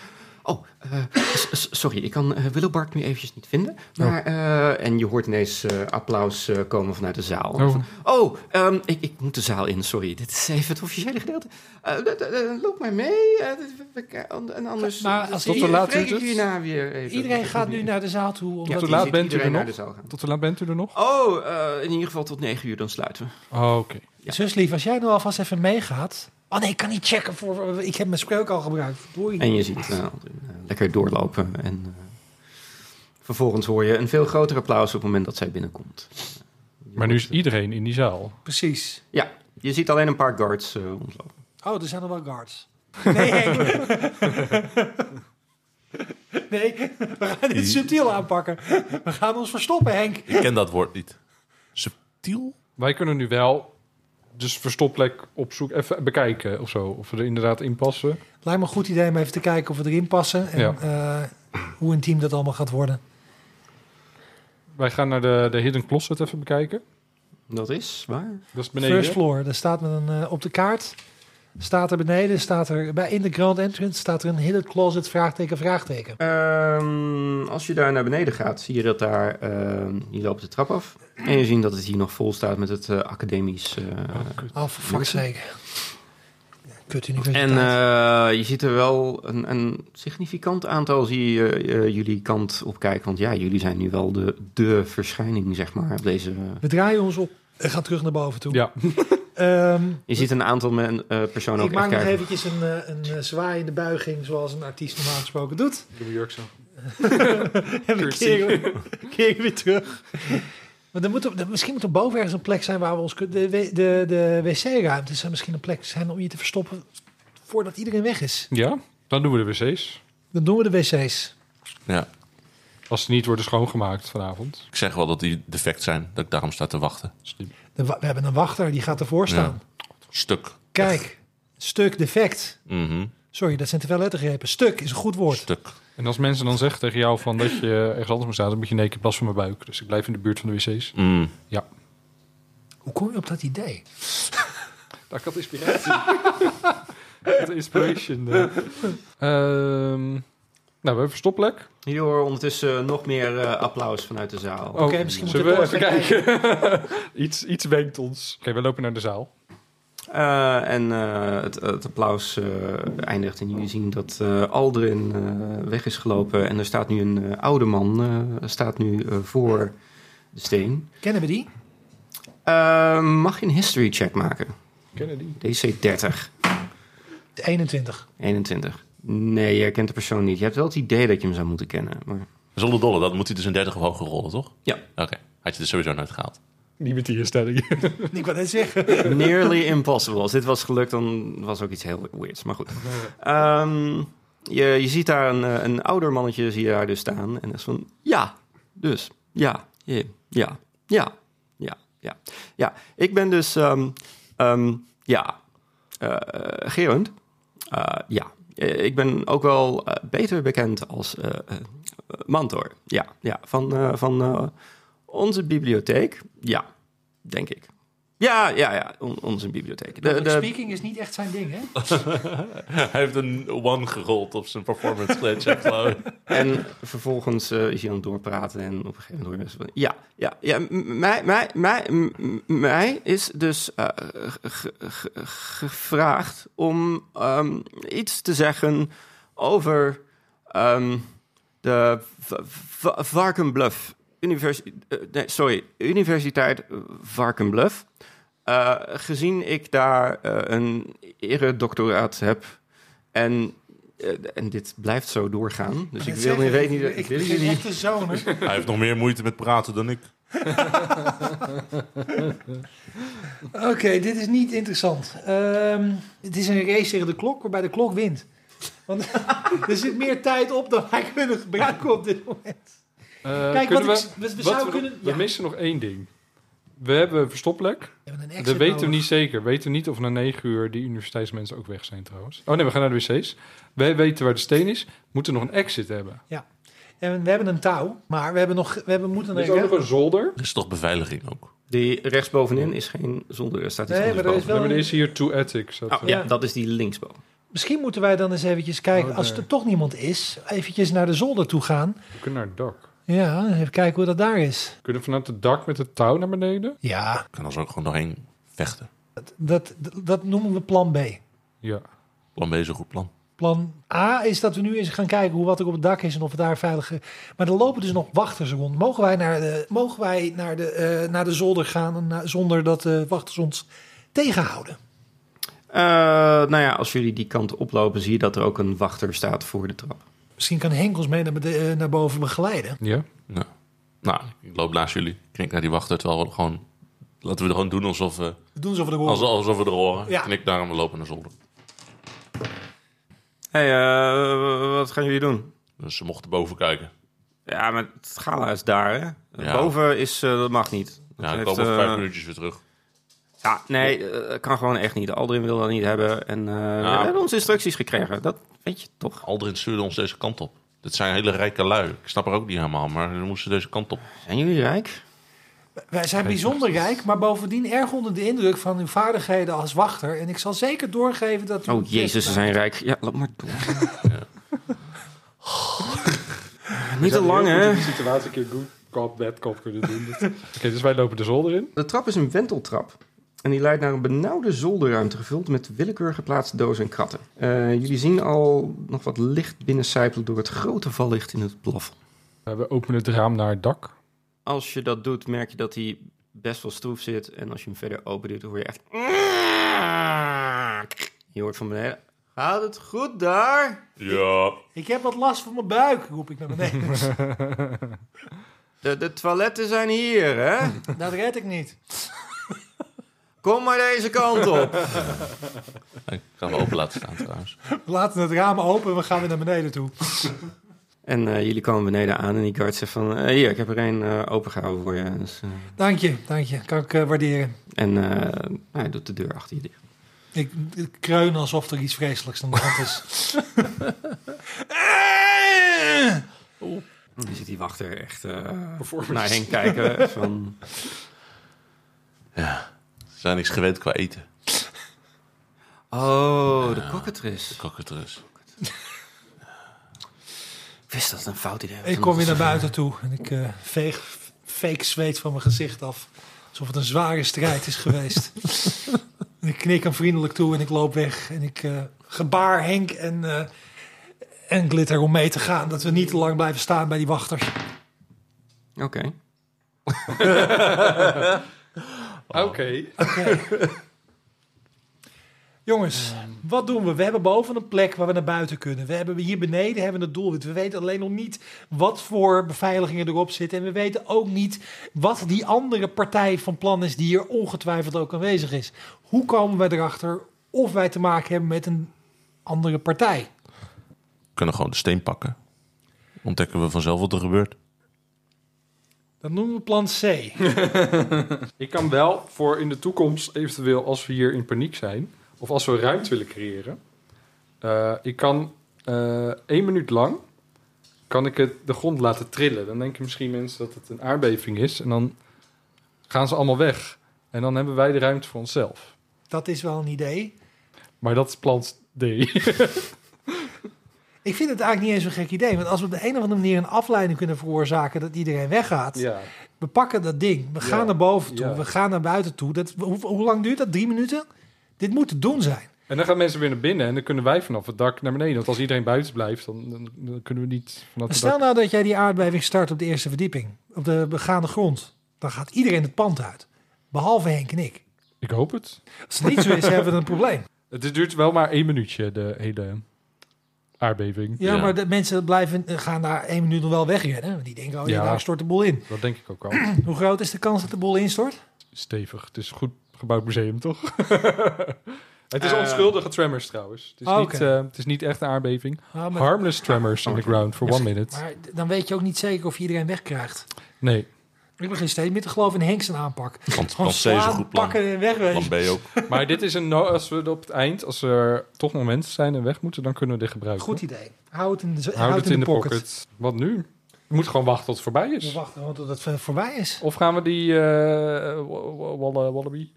S4: oh, eh, s- s- sorry, ik kan eh, Willowbark nu eventjes niet vinden. Maar, eh, en je hoort ineens eh, applaus eh, komen vanuit de zaal.
S1: Oh.
S4: Van, oh ehm, ik, ik moet de zaal in, sorry. Dit is even het officiële gedeelte. Eh, d- d- d- loop maar mee. eh, we- we- we- en anders
S2: Maar als
S4: zie
S1: tot hoe
S4: je-
S1: laat
S4: spreek
S1: duurt
S4: ik
S1: het?
S4: hierna weer even.
S2: Iedereen gaat nu naar de zaal toe.
S4: Ja,
S2: Omdat
S1: Tot
S4: je
S1: hoe laat
S4: ziet
S1: bent u er
S4: iedereen naar
S1: nog?
S4: de zaal gaan.
S1: tot hoe laat bent u er nog?
S4: Oh, eh, in ieder geval tot negen uur, dan sluiten we.
S1: Oh, oké.
S4: Ja.
S2: Zuslief, als jij nou alvast even meegaat... Oh nee, ik kan niet checken. Voor, ik heb mijn spreuk al gebruikt. Verdorie.
S4: En je ziet eh, Aldrin, eh, lekker doorlopen. En eh, vervolgens hoor je een veel groter applaus op het moment dat zij binnenkomt.
S1: Maar nu is iedereen in die zaal.
S2: Precies.
S4: Ja, je ziet alleen een paar guards eh, rondlopen.
S2: Oh, er zijn er wel guards. Nee, Henk. *laughs* nee, we gaan dit subtiel aanpakken. We gaan ons verstoppen, Henk.
S3: Ik ken dat woord niet. Subtiel?
S1: Wij kunnen nu wel dus verstopplek opzoeken, even bekijken of zo. Of we er inderdaad in passen.
S2: Lijkt me een goed idee om even te kijken of we erin passen. En
S1: Ja.
S2: eh, hoe intiem dat allemaal gaat worden.
S1: Wij gaan naar de, de Hidden Closet even bekijken.
S4: Dat is waar.
S1: Dat is beneden.
S2: First floor, daar staat met een, eh, op de kaart. Staat er beneden, staat er bij in de grand entrance, staat er een hidden closet, vraagteken, vraagteken.
S4: Ehm, als je daar naar beneden gaat, zie je dat daar... ehm je loopt de trap af. En je ziet dat het hier nog vol staat met het eh, academisch... eh,
S1: Ah,
S2: Oh, voor fuck's sake. Ja, Kut universiteit.
S4: en eh, je ziet er wel een, een significant aantal zie je, eh, jullie kant op kijken. Want ja, jullie zijn nu wel de, de verschijning, zeg maar, op deze... eh.
S2: we draaien ons op en gaan terug naar boven toe.
S1: Ja,
S2: Ehm,
S4: Je ziet een aantal men, eh,
S2: ik
S4: personen ook echt
S2: maak nog
S4: kijken.
S2: eventjes een, eh, een eh, zwaaiende buiging, zoals een artiest normaal
S1: *laughs*
S2: gesproken doet. *laughs*
S1: doe mijn jurk zo.
S2: En we keren, keren weer terug. Maar dan moet er, dan- misschien moet er boven ergens een plek zijn waar we ons kunnen. De, w- de, de wc-ruimtes zijn misschien een plek zijn om je te verstoppen voordat iedereen weg is.
S1: Ja, dan doen we de wc's.
S2: Dan doen we de wc's.
S3: Ja.
S1: Als ze niet worden schoongemaakt vanavond.
S3: Ik zeg wel dat die defect zijn, dat ik daarom sta te wachten.
S1: Slim.
S2: De wa- we hebben een wachter die gaat ervoor staan.
S3: Stuk.
S2: Kijk, stuk defect.
S3: Mhm.
S2: Sorry, dat zijn te veel lettergrepen. Stuk is een goed woord.
S3: Stuk.
S1: En als mensen dan zeggen tegen jou van dat je ergens anders moet staan, dan moet je nee, ik heb last van mijn buik. Dus ik blijf in de buurt van de wc's.
S3: Mm.
S1: Ja.
S2: Hoe kom je op dat idee?
S1: Daar had inspiratie. *laughs* de inspiration. eh. Ehm, nou, we hebben verstopplek.
S4: Jullie horen ondertussen nog meer eh, applaus vanuit de zaal.
S1: Oh,
S2: Oké, misschien
S1: zullen we
S2: moeten
S1: even
S2: we nog
S1: kijken? *laughs* iets, iets wenkt ons. Oké, we lopen naar de zaal.
S4: Eh, en eh, het, het applaus eh, eindigt en jullie zien dat eh, Aldrin eh, weg is gelopen. En er staat nu een eh, oude man eh, staat nu eh, voor de steen.
S2: Kennen we die?
S4: Eh, mag je een history check maken?
S1: Kennedy.
S4: DC 30,
S2: De 21.
S4: 21. Nee, jij kent de persoon niet. Je hebt wel het idee dat je hem zou moeten kennen. Maar... *laughs*
S3: Zonder dolle, dat moet hij dus een 30 of hoger rollen, toch?
S4: Ja.
S3: Oké, had je dus sowieso nooit gehaald.
S1: Niet met die instelling.
S2: Ik wou net zeggen.
S4: Nearly impossible. Als dit was gelukt, dan was ook iets heel weirds. Maar goed. Ehm, je, je ziet daar een, eh, een ouder mannetje zie je daar dus staan. En dat is van, ja, dus, ja, je- ja, ja, ja, ja. Ja, ik ben dus, ehm, ehm, ja, eh eh, Gerund. Eh, ja, Eh, ik ben ook wel eh, beter bekend als eh, eh, Mantor. Ja, ja, van, eh, van eh, onze bibliotheek. Ja, denk ik. Ja, ja, ja. On, onze bibliotheek. Eh, De, de-
S2: Speaking is niet echt zijn ding, hè?
S3: *laughs* Hij heeft een one gerold op zijn performance glitch, *laughs* geloof ik.
S4: en vervolgens eh, is hij aan het doorpraten en op een gegeven moment hoor je mensen van... Ja, ja, ja. m- Mij, mij, mij, m- mij is dus eh, ge- ge- gevraagd om ehm, iets te zeggen over ehm, de Va- Va- Varkenbluff. Universi- eh, nee, sorry, Universiteit Varkenbluff. Eh, gezien ik daar eh, een eredoctoraat heb en, eh, en dit blijft zo doorgaan. Dus ik wil niet weten...
S2: Ik ben geen echte zoon. hè.
S3: Hij heeft nog meer moeite met praten dan ik.
S2: *laughs* Oké, dit is niet interessant. Ehm, het is een race tegen de klok, waarbij de klok wint. Want *laughs* er zit meer tijd op dan wij kunnen gebruiken op dit moment.
S1: Eh,
S2: Kijk, wat
S1: kunnen
S2: ik,
S1: we,
S2: s- we, we
S1: wat
S2: zouden
S1: we-
S2: kunnen...
S1: we
S2: ja,
S1: missen nog één ding. We hebben een verstopplek.
S2: we hebben een exit
S1: Dat weten we
S2: nodig.
S1: niet zeker. Weten we niet of na negen uur die universiteitsmensen ook weg zijn trouwens. Oh nee, we gaan naar de wc's. Wij weten waar de steen is. Moeten nog een exit hebben.
S2: En we hebben een touw, maar we, hebben nog, we hebben, moeten
S1: Er is ook nog een zolder.
S3: Er is toch beveiliging ook?
S4: Die rechtsbovenin is geen zonder... Staat iets
S2: Nee,
S4: anders
S2: maar er is
S4: boven.
S1: We hebben
S2: een-
S1: is hier two attic. Zat,
S4: Oh, ja, dat is die linksboven.
S2: Misschien moeten wij dan eens eventjes kijken,
S1: Oh,
S2: als
S1: daar.
S2: er toch niemand is, eventjes naar de zolder toe gaan.
S1: We kunnen naar het dak.
S2: Ja, even kijken hoe dat daar is.
S1: We kunnen vanuit het dak met het touw naar beneden.
S2: Ja,
S3: Ik kan ons ook gewoon doorheen vechten.
S2: dat, dat, dat noemen we plan B.
S1: Ja.
S3: Plan B is een goed plan.
S2: Plan A is dat we nu eens gaan kijken hoe wat er op het dak is en of we daar veilige. Maar er lopen dus nog wachters rond. Mogen wij naar de, mogen wij naar de, eh, naar de zolder gaan en na- zonder dat de wachters ons tegenhouden?
S4: Eh, nou ja, als jullie die kant oplopen, zie je dat er ook een wachter staat voor de trap.
S2: Misschien kan Henkels mee naar, bede- eh, naar boven begeleiden.
S1: ja.
S3: Nou, nou, ik loop naast jullie. Knik naar die wachter, terwijl we gewoon... Laten we er gewoon doen alsof, we
S2: We doen ze over de
S3: alsof,
S2: horen.
S3: alsof we er horen.
S2: Ja.
S3: Knik daar en we lopen naar zolder.
S4: Hé, eh, wat gaan jullie doen?
S3: Dus ze mochten boven kijken.
S4: Ja, maar het gala is daar, hè?
S3: Ja.
S4: Boven is, eh, dat mag niet. Dat
S3: Ja, ik
S4: heeft,
S3: kom over
S4: eh,
S3: vijf minuutjes weer terug.
S4: Ja, nee, eh, kan gewoon echt niet. Aldrin wil dat niet hebben. En eh, we hebben onze instructies gekregen. Dat weet je toch?
S3: Aldrin stuurde ons deze kant op. Dit zijn hele rijke lui. Ik snap er ook niet helemaal, maar ze moesten deze kant op.
S4: Zijn jullie rijk?
S2: Wij zijn bijzonder rijk, maar bovendien erg onder de indruk van uw vaardigheden als wachter. En ik zal zeker doorgeven dat. u-
S4: Oh, jezus, ze zijn rijk. Ja, loop maar door. *laughs* niet te lang, hè?
S1: Die situatie een keer good cop, bad cop kunnen *laughs* doen. Oké, dus wij lopen de zolder in.
S4: De trap is een wenteltrap. En die leidt naar een benauwde zolderruimte gevuld met willekeurig geplaatste dozen en kratten. Eh, jullie zien al nog wat licht binnencijpelen door het grote vallicht in het plafond.
S1: Eh, we openen het raam naar het *laughs* dak.
S4: Als je dat doet, merk je dat hij best wel stroef zit. En als je hem verder open doet, hoor je echt... Je hoort van beneden... Gaat het goed daar?
S3: Ja,
S2: Ik heb wat last van mijn buik, roep ik naar beneden.
S4: *laughs* De, de toiletten zijn hier, hè?
S2: dat red ik niet.
S4: Kom maar deze kant op.
S3: ik kan hem open laten staan trouwens.
S2: We laten het raam open en we gaan weer naar beneden toe.
S4: En eh, jullie komen beneden aan en die guard zegt van... eh, hier, ik heb er een eh opengehouden voor je. Dus, eh,
S2: Dank je, dank je. Kan ik eh, waarderen.
S4: en eh, hij doet de deur achter je dicht.
S2: Ik, ik kreun alsof er iets vreselijks aan de hand is.
S4: Dan zit die wachter echt eh,
S1: Performance.
S4: naar hen kijken. Van,
S3: Ze zijn niks gewend qua eten.
S4: oh, de cockatrice.
S3: Kakkertjes.
S4: Ik wist dat het een fout idee was.
S2: ik kom weer naar buiten toe en ik eh, veeg fake zweet van mijn gezicht af. Alsof het een zware strijd is geweest. ik knik hem vriendelijk toe en ik loop weg. En ik eh, gebaar Henk en, eh, en Glitter om mee te gaan. Dat we niet te lang blijven staan bij die wachters.
S4: Oké.
S1: Oké.
S2: *laughs* Jongens, wat doen we? We hebben boven een plek waar we naar buiten kunnen. We hebben hier beneden hebben we het doelwit. We weten alleen nog niet wat voor beveiligingen erop zitten. En we weten ook niet wat die andere partij van plan is die hier ongetwijfeld ook aanwezig is. Hoe komen wij erachter of wij te maken hebben met een andere partij?
S3: We kunnen gewoon de steen pakken. Ontdekken we vanzelf wat er gebeurt.
S2: Dat noemen we plan C.
S1: Ik kan wel voor in de toekomst, eventueel als we hier in paniek zijn, of als we ruimte willen creëren, eh, ik kan eh, één minuut lang kan ik het de grond laten trillen. Dan denken misschien mensen dat het een aardbeving is en dan gaan ze allemaal weg. En dan hebben wij de ruimte voor onszelf.
S2: Dat is wel een idee.
S1: Maar dat is plan D. *laughs*
S2: Ik vind het eigenlijk niet eens een gek idee. Want als we op de een of andere manier een afleiding kunnen veroorzaken dat iedereen weggaat.
S1: ja.
S2: We pakken dat ding. We
S1: Ja.
S2: gaan naar boven toe.
S1: Ja.
S2: We gaan naar buiten toe. Dat, hoe, hoe lang duurt dat? Drie minuten? Dit moet te doen zijn.
S1: En dan gaan mensen weer naar binnen en dan kunnen wij vanaf het dak naar beneden. Want als iedereen buiten blijft, dan, dan, dan kunnen we niet vanaf
S2: Maar
S1: het
S2: stel
S1: dak.
S2: nou dat jij die aardbeving start op de eerste verdieping. Op de begaande grond. Dan gaat iedereen het pand uit. Behalve Henk en ik.
S1: Ik hoop het.
S2: Als het niet zo is, hebben we een probleem.
S1: Het duurt wel maar één minuutje, de hele aardbeving.
S2: Ja,
S3: Ja.
S2: maar de mensen blijven, eh, gaan daar één minuut nog wel wegrennen. Want die denken, oh ja,
S1: Ja.
S2: daar stort de boel in.
S1: Dat denk ik ook al.
S2: Hoe groot is de kans dat de boel instort?
S1: Stevig. Het is een goed gebouwd museum,
S2: *laughs*
S1: toch? het is
S4: Eh.
S1: onschuldige tremors trouwens. Het is,
S2: Oh,
S1: niet,
S2: Ehm. oké.
S1: eh, het is niet echt een aardbeving.
S2: Ah, maar,
S1: Harmless tremors in the ground for one minute.
S2: maar dan weet je ook niet zeker of je iedereen wegkrijgt.
S1: Nee.
S2: Ik begin steeds meer te geloven in Henk zijn aanpak. Gewoon
S3: Want, want C is een
S2: slaan,
S3: goed plan.
S2: pakken en
S3: Plan
S2: wegwezen.
S3: B ook.
S1: Maar dit is een... No als we op het eind, als er toch nog mensen zijn en weg moeten, dan kunnen we dit gebruiken.
S2: Goed idee. Hou het in de,
S1: Houd het in, de pocket. Wat nu? Je moet gewoon wachten tot het voorbij
S2: We
S1: is.
S2: wachten gewoon tot het v- voorbij is.
S1: Of gaan we die eh, wa- wa- walla- Wallaby,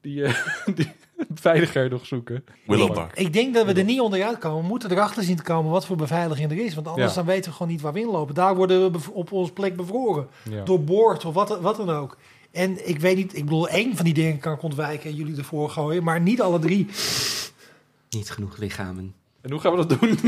S1: die, eh, *laughs* die beveiliger nog zoeken?
S3: Willowbark.
S2: Ik denk dat we er niet onderuit komen. We moeten erachter zien te komen wat voor beveiliging er is. Want anders
S1: Ja.
S2: dan weten we gewoon niet waar we inlopen. Daar worden we bev- op onze plek bevroren.
S1: Ja.
S2: doorboord of wat, wat dan ook. En ik weet niet, ik bedoel, één van die dingen kan ik ontwijken en jullie ervoor gooien, maar niet alle drie.
S4: Niet genoeg lichamen.
S1: En hoe gaan we dat doen?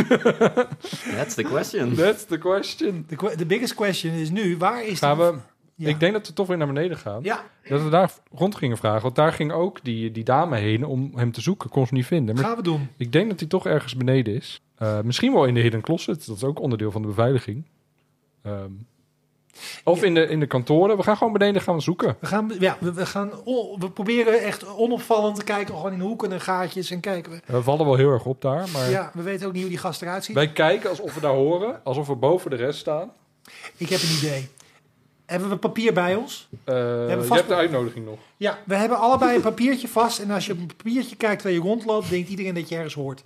S1: *laughs*
S4: That's the question.
S1: That's the question.
S2: De, que- de biggest question is nu, waar is
S1: Gaan
S2: de-
S1: we...
S2: Ja.
S1: Ik denk dat we toch weer naar beneden gaan.
S2: Ja,
S1: Dat we daar rond gingen vragen. Want daar ging ook die, die dame heen om hem te zoeken. Kon ze niet vinden. Maar
S2: gaan we doen.
S1: ik denk dat hij toch ergens beneden is. Eh, misschien wel in de hidden closet. Dat is ook onderdeel van de beveiliging. Ehm, of in, de, in de kantoren. We gaan gewoon beneden gaan zoeken.
S2: We gaan, ja, we, we gaan, on- we proberen echt onopvallend te kijken, gewoon in hoeken en gaatjes en kijken we.
S1: Eh, We vallen wel heel erg op daar. Maar
S2: Ja, we weten ook niet hoe die gast eruit ziet.
S1: wij kijken alsof we daar horen. Alsof we boven de rest staan.
S2: Ik heb een idee. Hebben we papier bij ons?
S1: Eh,
S2: vast-
S1: Je hebt de uitnodiging nog.
S2: Ja, we hebben allebei een papiertje vast. En als je op een papiertje kijkt waar je rondloopt, denkt iedereen dat je ergens hoort.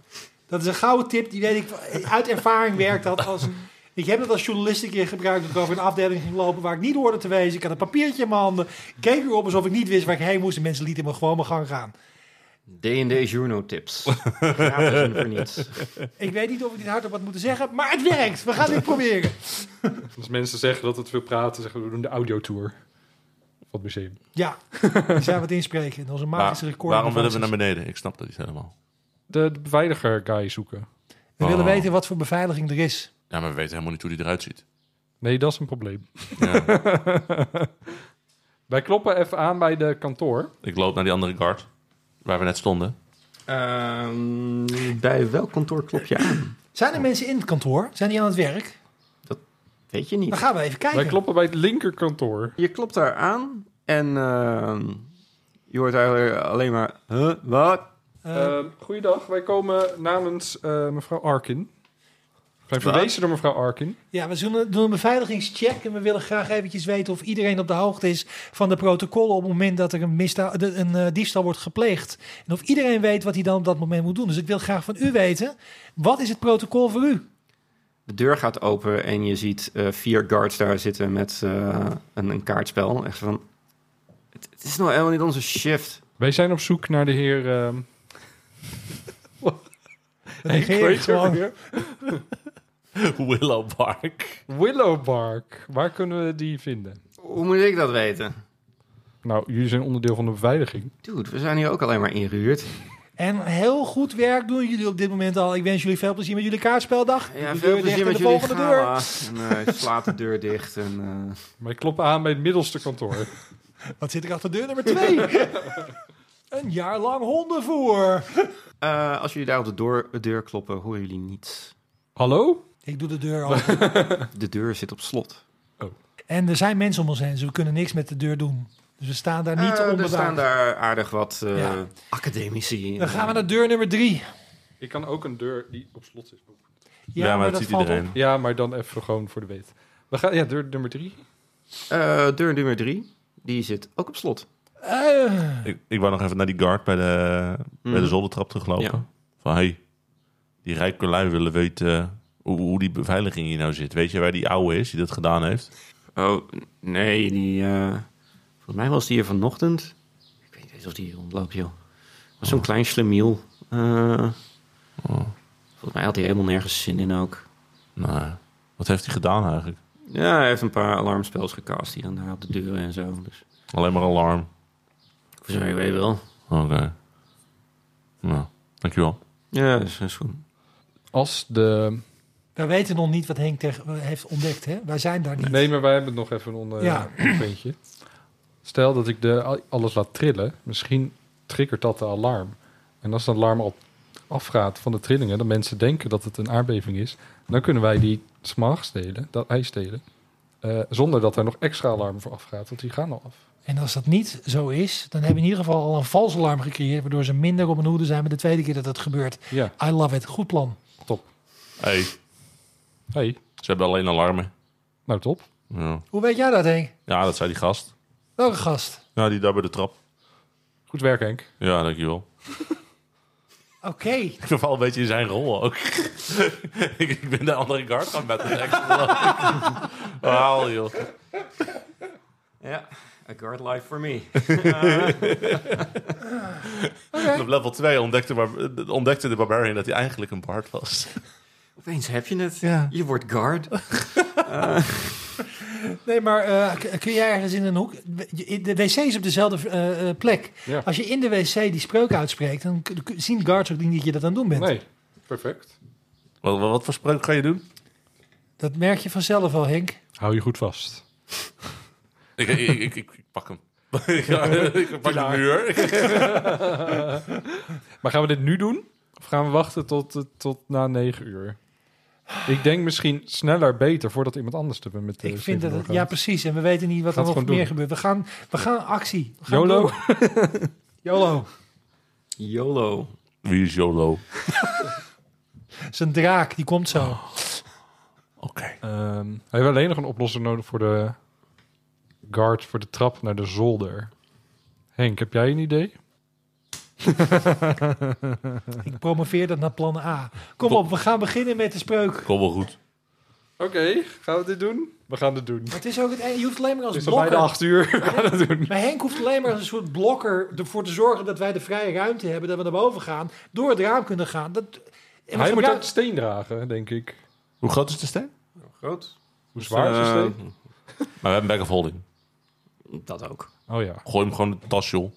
S2: Dat is een gouden tip, die weet ik. Uit ervaring werkt dat als. Ik heb dat als journalist een keer gebruikt. Dat ik over een afdeling ging lopen waar ik niet hoorde te wezen. Ik had een papiertje in mijn handen. Keek erop alsof ik niet wist waar ik heen moest. En mensen lieten me gewoon mijn gang gaan.
S4: D&D Journo tips. *laughs* Gratis en voor niets.
S2: Ik weet niet of ik dit hardop had moeten zeggen. Maar het werkt. We gaan dit proberen.
S1: Als mensen zeggen dat het veel praten, zeggen we, we doen de audiotour. Van het museum.
S2: Ja, daar zijn we het inspreken. Dat is een magische
S3: Waar-
S2: record.
S3: waarom willen we naar beneden? Ik snap dat niet helemaal.
S1: De, de beveiliger guy zoeken.
S2: We willen
S3: Oh.
S2: weten wat voor beveiliging er is.
S3: Ja, maar we weten helemaal niet hoe die eruit ziet.
S1: Nee, dat is een probleem.
S3: Ja.
S1: *laughs*
S3: *laughs*
S1: Wij kloppen even aan bij de kantoor.
S3: ik loop naar die andere guard, waar we net stonden.
S4: Ehm, bij welk kantoor klop je aan?
S2: Zijn er mensen in het kantoor? Zijn die aan het werk?
S4: Weet je
S2: Dan
S4: niet.
S2: gaan we even kijken.
S1: Wij kloppen bij het linkerkantoor.
S4: Je klopt daar aan en ehm, je hoort eigenlijk alleen maar... Huh? Wat?
S2: Eh,
S1: Ehm, goeiedag, wij komen namens eh, mevrouw Arkin. We zijn
S4: Wat?
S1: verwezen door mevrouw Arkin.
S2: Ja, we zullen- doen een beveiligingscheck en we willen graag eventjes weten of iedereen op de hoogte is van de protocollen op het moment dat er een, misda- de- een eh, diefstal wordt gepleegd. En of iedereen weet wat hij dan op dat moment moet doen. Dus ik wil graag van u weten, wat is het protocol voor u?
S4: De deur gaat open en je ziet eh, vier guards daar zitten met eh, een, een kaartspel. Echt van, het, het is nou helemaal niet onze shift.
S1: Wij zijn op zoek naar de heer... ehm,
S2: Regeer gewoon.
S1: weer.
S3: Willowbark.
S1: Willowbark. Waar kunnen we die vinden?
S4: Hoe moet ik dat weten?
S1: Nou, jullie zijn onderdeel van de beveiliging.
S4: Dude, we zijn hier ook alleen maar ingehuurd.
S2: En heel goed werk doen jullie op dit moment al. Ik wens jullie veel plezier met jullie kaartspeldag.
S4: Ja,
S2: De
S4: veel
S2: deur dicht
S4: plezier
S2: en
S4: met
S2: de
S4: jullie
S2: volgende deur.
S4: gala. En, eh, je slaat de deur dicht en... eh,
S1: Wij kloppen aan bij het middelste kantoor.
S2: Wat zit er achter deur nummer
S4: *laughs*
S2: twee? een jaar lang hondenvoer.
S4: Eh, als jullie daar op de door- deur kloppen, horen jullie niets.
S1: Hallo?
S2: Ik doe de deur open.
S4: De deur zit op slot.
S2: En er zijn mensen om ons heen, dus we kunnen niks met de deur doen. Dus we staan daar niet
S4: Eh,
S2: te
S4: er staan
S2: onbewaakt.
S4: daar aardig wat eh,
S2: Ja.
S4: academici.
S2: Dan gaan we naar deur nummer drie.
S1: Ik kan ook een deur die op slot is.
S3: Ja, maar, dat, ziet
S2: valt
S3: iedereen.
S2: op.
S1: Ja, maar dan even gewoon voor de weet. We gaan, ja, deur nummer drie.
S4: Eh, deur nummer drie, die zit ook op slot.
S2: Eh,
S3: Ik, ik wou nog even naar die guard bij de, bij de
S4: Mm.
S3: zoldertrap teruglopen.
S4: Ja.
S3: Van, hey, die rijke lui willen weten hoe, hoe die beveiliging hier nou zit. Weet je waar die oude is die dat gedaan heeft?
S4: Oh, nee, die... eh, volgens mij was die hier vanochtend. Ik weet of die rondloopt, joh. Maar zo'n klein slemiel. eh, Volgens mij had hij helemaal nergens zin in ook.
S3: Nou, wat heeft hij gedaan eigenlijk?
S4: Ja, hij heeft een paar alarmspels gecast hier en daar op de deuren en zo. Dus
S3: Alleen maar alarm.
S4: voor zover ik weet wel.
S3: Oké. Nou, dankjewel.
S4: Ja, dat is, is goed.
S1: Als de...
S2: We weten nog niet wat Henk tegen- eh, heeft ontdekt, hè? Wij zijn daar niet.
S1: Nee, maar wij hebben nog even een
S2: Ja.
S1: puntje. Stel dat ik de, alles laat trillen. Misschien triggert dat de alarm. En als de alarm al afgaat van de trillingen... dat mensen denken dat het een aardbeving is... dan kunnen wij die smaag stelen, dat ijs stelen... eh, zonder dat er nog extra alarm voor afgaat. Want die gaan al af.
S2: En als dat niet zo is, dan hebben we in ieder geval al een vals alarm gecreëerd, waardoor ze minder op hun hoede zijn bij de tweede keer dat het gebeurt.
S1: Ja,
S2: I love it. Goed plan.
S3: Hey,
S1: hey,
S3: ze hebben alleen alarmen.
S1: nou top.
S3: Ja.
S2: Hoe weet jij dat, Henk?
S3: ja, dat zei die gast.
S2: Welke gast?
S3: Ja, die daar bij de trap.
S1: Goed werk, Henk.
S3: Ja, dankjewel.
S2: Oké.
S3: *laughs* Ik val een beetje in zijn rol ook. *laughs* ik, ik ben de andere guard gaan met een extra. *laughs* Haal, joh.
S4: Ja, a guard life for me. Eh,
S3: En Op level 2 ontdekte, bar- ontdekte de barbarian dat hij eigenlijk een bard was.
S4: Opeens heb je het.
S5: Ja.
S4: Je wordt guard.
S2: Nee, maar eh, k- kun jij ergens in een hoek... De wc is op dezelfde eh, eh, plek.
S1: Ja.
S2: Als je in de wc die spreuk uitspreekt, dan k- k- zien guards ook niet dat je dat aan het doen bent.
S1: Nee, perfect.
S3: Wat, wat, wat voor spreuk ga je doen?
S2: Dat merk je vanzelf al, Henk.
S1: Hou je goed vast.
S3: Ik, ik, ik, ik- ik pak *laughs* hem. ik, pak de *laughs* muur.
S1: Maar gaan we dit nu doen? Of gaan we wachten tot, eh, tot na negen uur? Ik denk misschien sneller beter voordat iemand anders er met de
S2: Ik vind dat...
S1: zin
S2: het-
S1: doorgaat.
S2: ja, precies. En we weten niet wat
S1: Gaat
S2: er nog
S1: gewoon
S2: meer
S1: doen.
S2: gebeurt. We gaan, we gaan actie. We gaan
S1: YOLO.
S2: door. *laughs* YOLO.
S4: YOLO.
S3: Wie is YOLO? Oké.
S2: Zijn draak, die komt zo.
S1: Oh. Ehm, we hebben alleen nog een oplossing nodig voor de guard voor de trap naar de zolder. Henk, heb jij een idee?
S2: Ik promoveer dat naar plan A. Kom op, we gaan beginnen met de spreuk.
S3: Kom wel goed.
S1: Oké, gaan we dit doen? We gaan dit doen.
S2: Het is ook het, e- je hoeft alleen maar
S1: Het
S2: als
S1: is al bijna
S2: blokker...
S1: acht uur. *laughs* We gaan het doen.
S2: Maar Henk hoeft alleen maar als een soort blokker ervoor te zorgen dat wij de vrije ruimte hebben, dat we naar boven gaan, door het raam kunnen gaan. Dat, en we
S1: Hij moet
S2: gebruiken-
S1: ook de steen dragen, denk ik.
S3: Hoe groot is de steen?
S4: Groot.
S1: Hoe zwaar is de
S4: Eh,
S1: steen?
S3: Maar we hebben back of holding.
S4: Dat ook.
S1: Oh ja.
S3: Gooi hem gewoon in de tas, joh.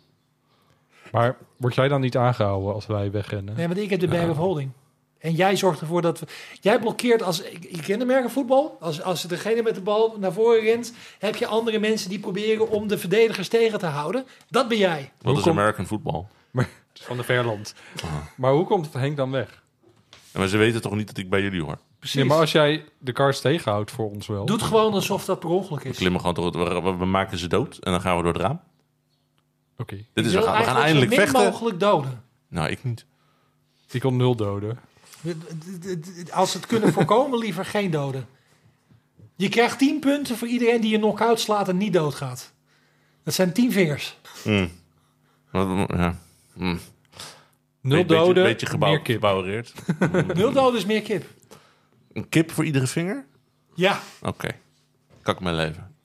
S1: Maar word jij dan niet aangehouden als wij wegrennen?
S2: Nee, want ik heb de bag of holding. En jij zorgt ervoor dat we... Jij blokkeert als... Ik, ik ken de merken voetbal. Als, als degene met de bal naar voren rent, heb je andere mensen die proberen om de verdedigers tegen te houden. Dat ben jij.
S3: Wat is
S1: komt-
S3: American football?
S1: Van de Verland. Maar hoe komt Henk dan weg?
S3: En maar ze weten toch niet dat ik bij jullie hoor?
S2: Precies.
S1: Nee, maar als jij de kaars tegenhoudt voor ons wel.
S2: Doet gewoon alsof dat per ongeluk is.
S3: Klimmen gewoon door het, we, we maken ze dood en dan gaan we door het raam.
S1: Oké.
S3: Dit is,
S2: Ik wil
S3: we gaan, we gaan
S2: eigenlijk
S3: eindelijk
S2: zo min
S3: vechten.
S2: mogelijk doden.
S3: Nou, ik niet.
S1: Ik kon nul doden.
S2: Als ze het kunnen voorkomen, *laughs* liever geen doden. Je krijgt 10 punten voor iedereen die je knock-out slaat en niet doodgaat. Dat zijn 10
S3: *laughs*
S2: vingers.
S3: Wat- Ja. Mm.
S1: Nul
S3: Beetje-
S1: doden,
S3: beetje gebouw,
S1: meer kip.
S3: gebouwereerd.
S2: Nul doden is meer kip.
S3: Een kip voor iedere vinger?
S2: Ja,
S3: Oké. Kak mijn leven.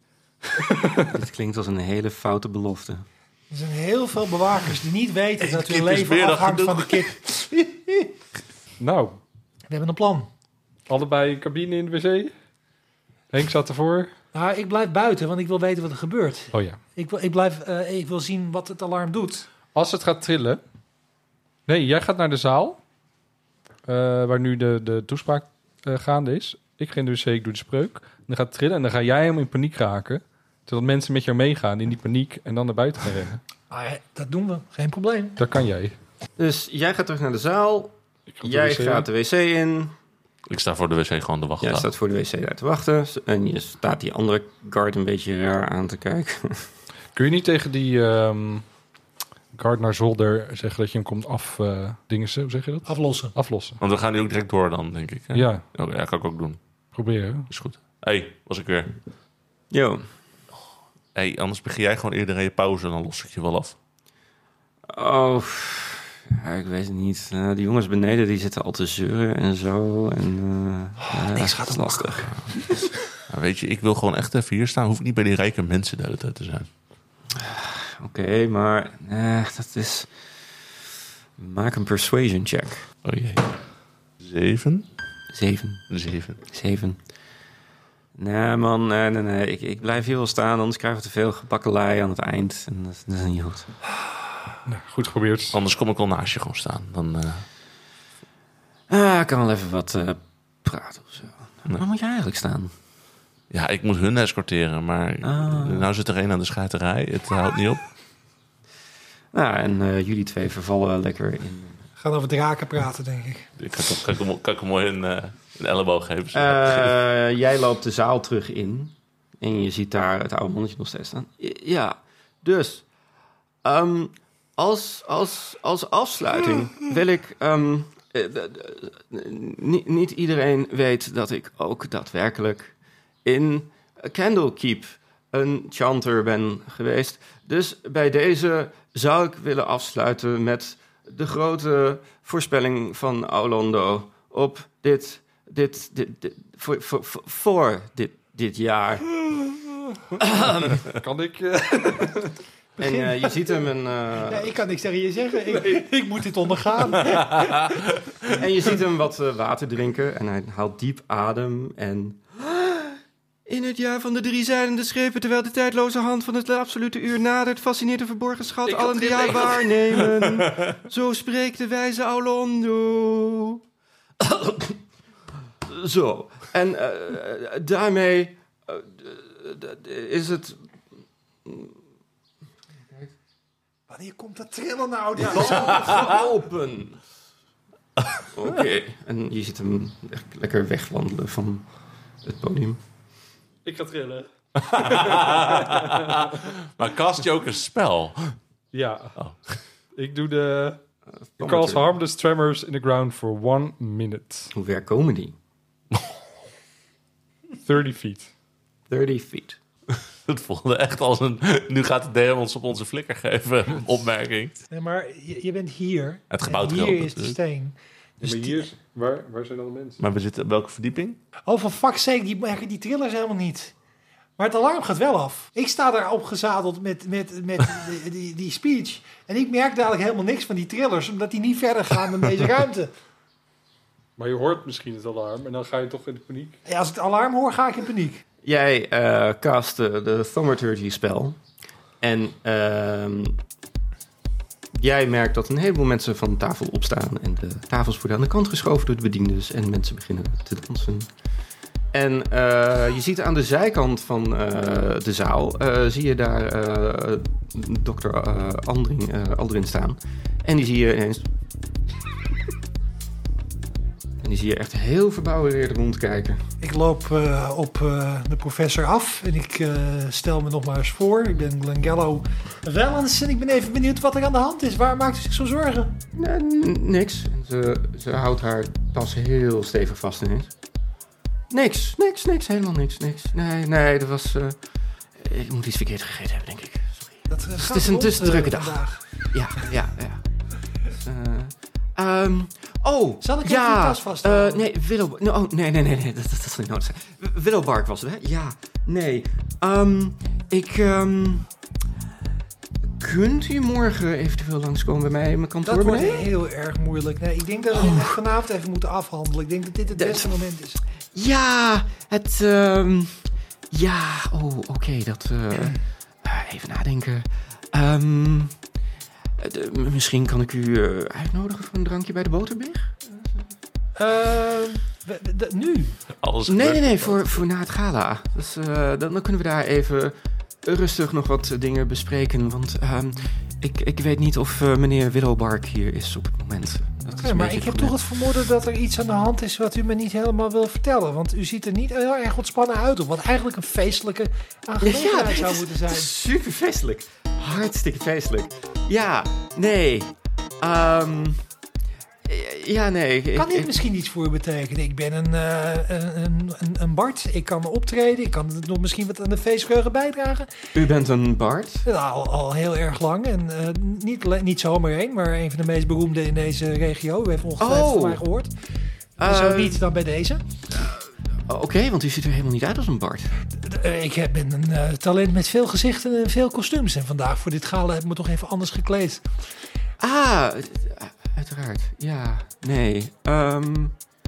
S4: Dit klinkt als een hele foute belofte.
S2: er zijn heel veel bewakers die niet weten dat hun
S3: kip is meer
S2: leven
S3: dan
S2: afhangt van
S3: genoeg.
S2: de kip.
S1: Nou,
S2: We hebben een plan.
S1: allebei een cabine in de wc. Henk staat ervoor.
S2: Nou, ik blijf buiten, want ik wil weten wat er gebeurt.
S1: Oh ja.
S2: Ik wil, ik blijf, eh, ik wil zien wat het alarm doet.
S1: Als het gaat trillen. Nee, jij gaat naar de zaal. eh, waar nu de, de toespraak eh, gaande is. Ik ga in de wc, ik doe de spreuk. En dan gaat het trillen en dan ga jij hem in paniek raken. Zodat mensen met jou meegaan in die paniek en dan naar buiten gaan rennen.
S2: Ah, ja, dat doen we, geen probleem.
S1: Daar kan jij.
S4: Dus jij gaat terug naar de zaal.
S1: Ik ga
S4: Jij
S1: de wc in.
S4: gaat de wc in.
S3: Ik sta voor de wc gewoon te wachten.
S4: Jij staat voor de wc daar te wachten. En je staat die andere guard een beetje raar aan te kijken.
S1: Kun je niet tegen die ehm Gardner Zolder zeggen dat je hem komt af... eh dingen, hoe zeg je dat?
S2: Aflossen.
S1: Aflossen.
S3: Want we gaan nu ook direct door dan, denk ik. hè?
S1: Ja,
S3: Oké, ja, kan ik ook doen.
S1: proberen.
S3: Is goed. Hé, hey, was ik weer.
S4: Yo.
S3: Hé, hey, anders begin jij gewoon eerder aan je pauze en dan los ik je wel af.
S4: Oh, ja, ik weet het niet. Eh, die jongens beneden die zitten al te zeuren en zo. En, eh ja,
S2: niks
S4: dat
S2: gaat
S4: is
S2: om
S4: lastig.
S5: Nou,
S3: Maar weet je, ik wil gewoon echt even hier staan. Hoef ik niet bij die rijke mensen de hele tijd te zijn.
S4: Oké, maar eh, dat is... Maak een persuasion check.
S5: Oh jee. Zeven?
S4: Zeven.
S5: Zeven.
S4: Zeven. Nee, man, nee, nee, nee. Ik, ik blijf hier wel staan, anders krijgen we te veel gebakkelei aan het eind. En dat, dat is niet goed.
S1: Nou, goed geprobeerd.
S5: Anders kom ik al naast je gewoon staan. Dan, eh,
S4: Ah, ik kan wel even wat eh, praten of zo. Waar moet je eigenlijk staan?
S5: ja, ik moet hun escorteren, maar
S4: Ah.
S5: nou zit er één aan de scheiterij. Het houdt niet op.
S4: Nou, en eh, jullie twee vervallen lekker in.
S2: Gaan over draken praten, denk ik.
S5: Ik kan, kan, ik hem- kan ik hem mooi een, eh, een elleboog geven. zo.
S4: Eh, jij loopt de zaal terug in. En je ziet daar het oude mannetje nog steeds staan. I- Ja, dus. ehm, als, als, als afsluiting wil ik. ehm, eh, d- d- niet, niet iedereen weet dat ik ook daadwerkelijk in Candlekeep een chanter ben geweest. Dus bij deze zou ik willen afsluiten met de grote voorspelling van Orlando op dit, dit, dit, dit- voor, voor, voor- voor dit, dit jaar.
S1: Kan ik... eh,
S4: En eh, je ziet hem een, eh,
S2: Nee, ik kan niks tegen je zeggen. Ik, ik moet dit ondergaan.
S4: en je ziet hem wat eh, water drinken en hij haalt diep adem en in het jaar van de drie zeilende schepen, terwijl de tijdloze hand van het absolute uur nadert, fascineert een verborgen schat, allen die haar waarnemen. Zo spreekt de wijze Aulondo. Zo, en eh, daarmee eh, d- d- d- is het
S2: Wanneer komt dat trillen nou? Ja.
S4: open. Oké. En je ziet hem echt lekker wegwandelen van het podium.
S6: Ik ga trillen.
S5: maar cast je ook een spel?
S1: *laughs* ja.
S5: Oh.
S1: Ik doe de... Cause harmless tremors in the ground for one minute.
S4: Hoe ver komen die?
S1: 30 feet.
S4: 30 feet.
S5: Het voelde echt als een... Nu gaat de DM ons op onze flikker geven.
S4: *laughs*
S5: Opmerking.
S2: Nee, maar je, je bent hier.
S5: Het gebouw
S2: En
S5: trilt
S2: Hier is de
S5: natuurlijk.
S2: steen. Dus die-
S1: waar, waar zijn dan de mensen?
S5: Maar we zitten op welke verdieping?
S2: Oh, voor fuck's sake, die, die trillers helemaal niet. Maar het alarm gaat wel af. Ik sta daar opgezadeld met, met, met
S4: *laughs*
S2: die, die, die speech. En ik merk dadelijk helemaal niks van die trillers, omdat die niet verder gaan dan deze
S4: *laughs*
S2: ruimte.
S1: Maar je hoort misschien het alarm en dan ga je toch in de paniek.
S2: Ja, als ik het alarm hoor, ga ik in paniek.
S4: Jij eh castte de Thaumaturgy spel. En ehm, jij merkt dat een heleboel mensen van de tafel opstaan. En de tafels worden aan de kant geschoven door de bediendes. En mensen beginnen te dansen. En eh, je ziet aan de zijkant van eh, de zaal, eh, zie je daar eh dokter eh, Andring, eh, Aldrin staan. En die zie je ineens... *laughs* En die zie je echt heel verbouwereerd rondkijken.
S2: Ik loop eh, op eh, de professor af en ik eh, stel me nog maar eens voor. Ik ben Glengello Wellens en ik ben even benieuwd wat er aan de hand is. Waar maakt u zich zo zorgen?
S4: Nee, n- niks. En Ze, ze houdt haar tas heel stevig vast ineens. Niks, niks, niks, helemaal niks, niks. Nee, nee, dat was... eh, ik moet iets verkeerd gegeten hebben, denk ik. Sorry.
S2: Dat eh, gaat
S4: Dus is een
S2: rond,
S4: tussen
S2: eh,
S4: drukke dag.
S2: vandaag.
S4: Ja, ja, ja. Dus, eh, ehm, oh,
S2: Zal ik
S4: ja,
S2: even uw tas vasthouden?
S4: eh, nee, Willow... no, oh, nee, nee, nee, nee, dat, dat, dat zal niet nodig zijn. W- Willowbark was het, hè? Ja, nee. Ehm, ik... ehm, kunt u morgen eventueel langskomen bij mij in mijn kantoor
S2: Dat wordt
S4: beneden?
S2: heel erg moeilijk. Nee, ik denk dat we dit echt vanavond even moeten afhandelen. Ik denk dat dit het
S4: Dat-
S2: beste moment is.
S4: Ja, het. ehm, ja, oh, oké, dat. eh, eh, even nadenken. Ehm, het, eh, m- misschien kan ik u eh, uitnodigen voor een drankje bij de boterbeer? Eh,
S2: Ehm, we- we- dat- nu?
S5: Alles
S4: Nee, nee,
S5: gebeurt.
S4: nee, voor, voor na het gala. Dus, eh, dan, dan kunnen we daar even rustig nog wat eh, dingen bespreken. Want ehm, ik, ik weet niet of eh, meneer Willowbark hier is op het moment. Dat is
S2: Oké,
S4: een
S2: maar
S4: beetje
S2: ik heb
S4: probleem.
S2: toch het vermoeden dat er iets aan de hand is wat u me niet helemaal wil vertellen. Want u ziet er niet heel erg ontspannen uit op. Wat eigenlijk een feestelijke aangelegenheid
S4: dit
S2: zou
S4: is-
S2: moeten
S4: dit
S2: zijn.
S4: is Super feestelijk. Hartstikke feestelijk. Ja, nee. Ehm, ja, nee. ik-
S2: Kan dit
S4: ik-
S2: misschien iets voor u betekenen? Ik ben een, eh, een, een, een- een Bart, ik kan optreden, ik kan nog misschien wat aan de feestvreugde bijdragen.
S4: U bent een Bart?
S2: Nou, al, al heel erg lang en eh, niet, le- niet zomaar één, maar een van de meest beroemde in deze regio. U heeft ongetwijfeld
S4: Oh.
S2: van mij gehoord. En
S4: Eh,
S2: Zo niet dan bij deze.
S4: oh, Oké, want u ziet er helemaal niet uit als een Bart.
S2: D- eh, ik heb- ben een eh, talent met veel gezichten en veel kostuums. En vandaag voor dit gala heb ik me toch even anders gekleed.
S4: Ah, uiteraard. Ja, nee. Ehm,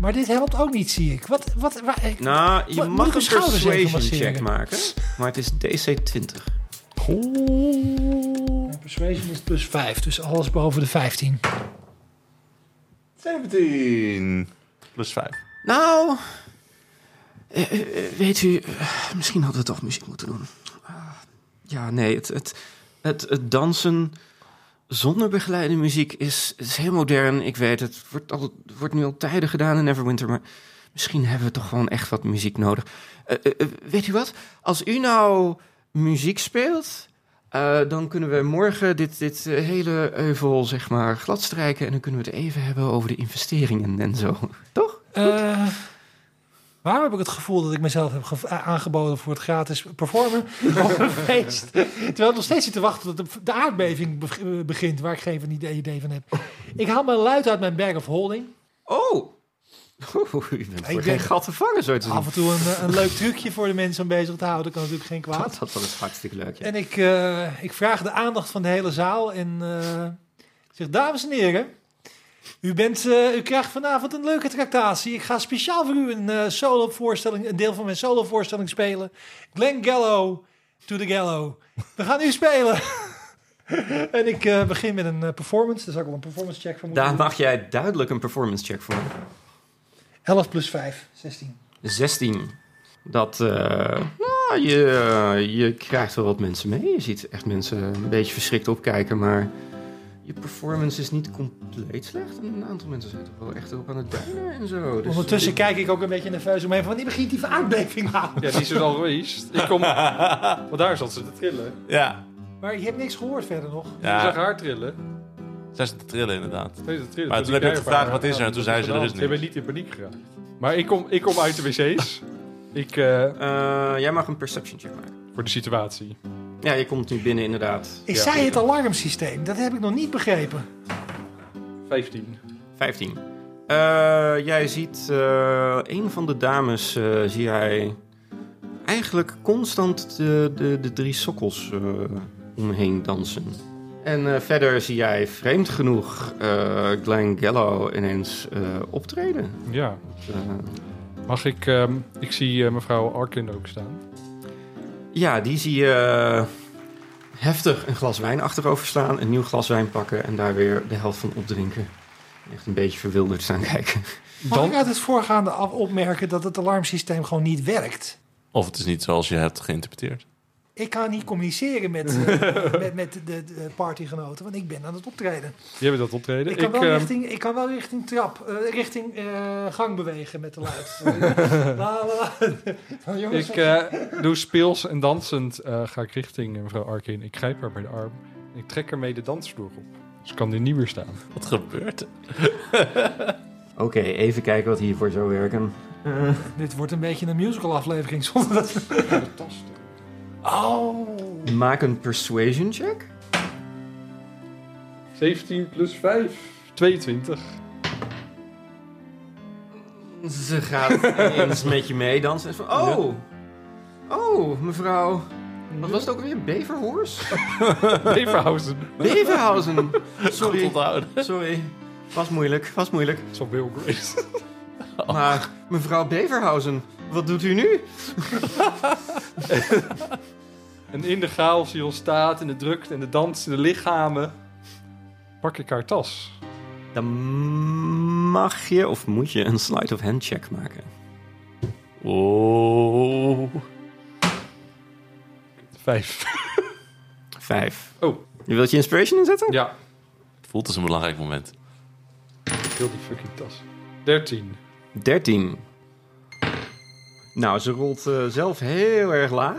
S2: Maar dit helpt ook niet, zie ik. Wat, wat, waar- ik-
S4: nou, je
S2: Moet- moet ik
S4: mag
S2: mijn
S4: een
S2: schouders even
S4: persuasion
S2: masseren?
S4: check maken, maar het is DC20.
S2: Mijn Persuasion is plus 5, dus alles boven de 15.
S5: 17. Plus 5.
S4: Nou, eh, eh, weet u, eh, misschien hadden we toch muziek moeten doen. Ah, ja, nee, het, het, het, het dansen zonder begeleide muziek is, is heel modern. Ik weet, het wordt, al, wordt nu al tijden gedaan in Neverwinter, maar misschien hebben we toch gewoon echt wat muziek nodig. Eh, eh, eh, weet u wat? Als u nou muziek speelt, eh, dan kunnen we morgen dit, dit eh, hele euvel, zeg maar, gladstrijken. En dan kunnen we het even hebben over de investeringen en zo. Toch?
S2: Eh, waarom heb ik het gevoel dat ik mezelf heb gev- a- aangeboden voor het gratis performen op een feest? Terwijl ik nog steeds zit te wachten tot de, de aardbeving beg- eh, begint, waar ik geen van idee, idee van heb. Ik haal mijn luid uit mijn bag of holding.
S4: Oh! *laughs* u bent voor
S2: denk-
S4: geen gat te vangen, zo te zien.
S2: Af en toe een, eh, een leuk trucje voor de mensen om bezig te houden, kan natuurlijk geen kwaad.
S4: Dat, dat is hartstikke leuk, ja.
S2: En ik, eh, ik vraag de aandacht van de hele zaal en eh, ik zeg, dames en heren, u, bent, eh, u krijgt vanavond een leuke tractatie. Ik ga speciaal voor u een, eh solo voorstelling, een deel van mijn solo voorstelling spelen. Glenn Gallo to the Gallo. We gaan nu spelen. *laughs* en ik eh, begin met een eh, performance, daar zal ik wel een performance check voor
S4: Daar
S2: moeten doen.
S4: mag jij duidelijk een performance check voor.
S2: 11 plus 5, 16.
S4: 16. Dat, eh, nou, je, je krijgt wel wat mensen mee. Je ziet echt mensen een beetje verschrikt opkijken, maar je performance is niet compleet slecht. En een aantal mensen zijn toch wel echt op aan het duinen en zo. Dus
S2: Ondertussen kijk ik ook een beetje nerveus omheen van, wanneer begint die aardbeving nou?
S1: Ja, die is er al geweest. Ik kom... *laughs* Want daar zat ze te trillen.
S3: Ja,
S2: Maar je hebt niks gehoord verder nog.
S1: Ik zag
S3: ja.
S1: haar trillen.
S3: Zij is te trillen inderdaad.
S1: Ze is te trillen.
S3: Maar toen
S1: ik
S3: heb ik
S1: haar
S3: gevraagd,
S1: ervaar.
S3: wat is er?
S1: Ja,
S3: Toen zei ze, er is
S1: Ik ben
S3: niks.
S1: niet in paniek gegaan. Maar ik kom, ik kom uit de
S3: *laughs*
S1: wc's. ik, eh,
S4: eh, jij mag een perception check maken.
S1: voor de situatie.
S4: Ja, je komt nu binnen inderdaad.
S2: Is
S1: Ja.
S2: zij het alarmsysteem? Dat heb ik nog niet begrepen.
S1: 15.
S4: 15. Eh, jij ziet eh, een van de dames, eh, zie jij eigenlijk constant de, de, de drie sokkels eh, omheen dansen. En eh, verder zie jij vreemd genoeg eh Glenn Gallo ineens eh, optreden.
S1: Ja.
S4: Eh,
S1: Mag ik... ehm, ik zie eh, mevrouw Arkin ook staan.
S4: ja, die zie je eh, heftig een glas wijn achterover slaan, een nieuw glas wijn pakken en daar weer de helft van opdrinken. Echt een beetje verwilderd staan kijken.
S2: Mag
S1: Dan?
S2: ik uit het voorgaande af opmerken dat het alarmsysteem gewoon niet werkt?
S3: Of het is niet zoals je hebt geïnterpreteerd.
S2: Ik kan niet
S1: *laughs*
S2: communiceren met, eh, met, met de, de partygenoten, want ik ben aan het optreden.
S1: Die hebben dat optreden.
S2: Ik kan, wel,
S1: ehm,
S2: richting, ik kan wel richting trap, eh, richting eh, gang bewegen met
S1: *laughs*
S2: de luid. La, la, la. Van, jongens,
S1: Ik eh, doe speels en dansend eh, ga ik richting eh, mevrouw Arkin. Ik grijp haar bij de arm en ik trek ermee de dansvloer op. Ze kan nu niet meer staan.
S3: Wat gebeurt er?
S4: Oké, even kijken wat hiervoor zou werken.
S1: eh,
S2: Dit wordt een beetje een musical aflevering
S1: *laughs*
S2: zonder dat... Oh,
S4: Maak een persuasion check.
S1: 17 plus 5. 22.
S4: Ze gaat *laughs* eens met je meedansen. en is Van, oh, oh, mevrouw. Wat was het ook weer? Beverhorst?
S1: Beverhausen.
S4: Beverhausen.
S3: Goed
S4: Sorry,
S3: onthouden.
S4: sorry. Was moeilijk, was moeilijk.
S1: Zo Bill Grace.
S4: Oh. Maar mevrouw Beverhausen, wat doet u nu?
S1: En in de chaos die ontstaat en de drukte en de dansende lichamen... pak ik haar tas.
S4: Dan mag je of moet je een sleight of hand check maken.
S3: Oh.
S1: 5.
S4: Vijf.
S1: Oh.
S4: Je wilt je inspiration inzetten?
S1: Ja,
S3: Het voelt als een belangrijk moment.
S1: ik wil die fucking tas. 13.
S4: 13. Nou, ze rolt eh, zelf heel erg laag.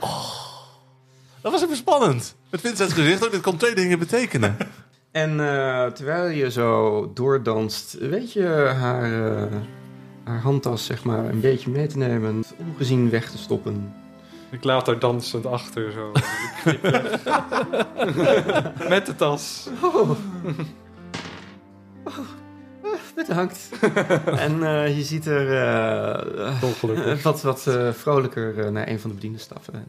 S3: Dat was even spannend. Met Vincent's gezicht ook. Dit kan twee dingen
S4: *laughs*
S3: betekenen.
S4: En eh, terwijl je zo doordanst, weet je haar, eh, haar handtas zeg maar een beetje mee te nemen, ongezien weg te stoppen.
S1: Ik laat haar dansend achter *laughs* zo. Met de tas.
S4: Oh. Oh, wat, *laughs* uithangt. en eh, je ziet er eh,
S6: Ongelukkig.
S4: wat, wat eh, vrolijker eh, naar een van de bedienden stappen.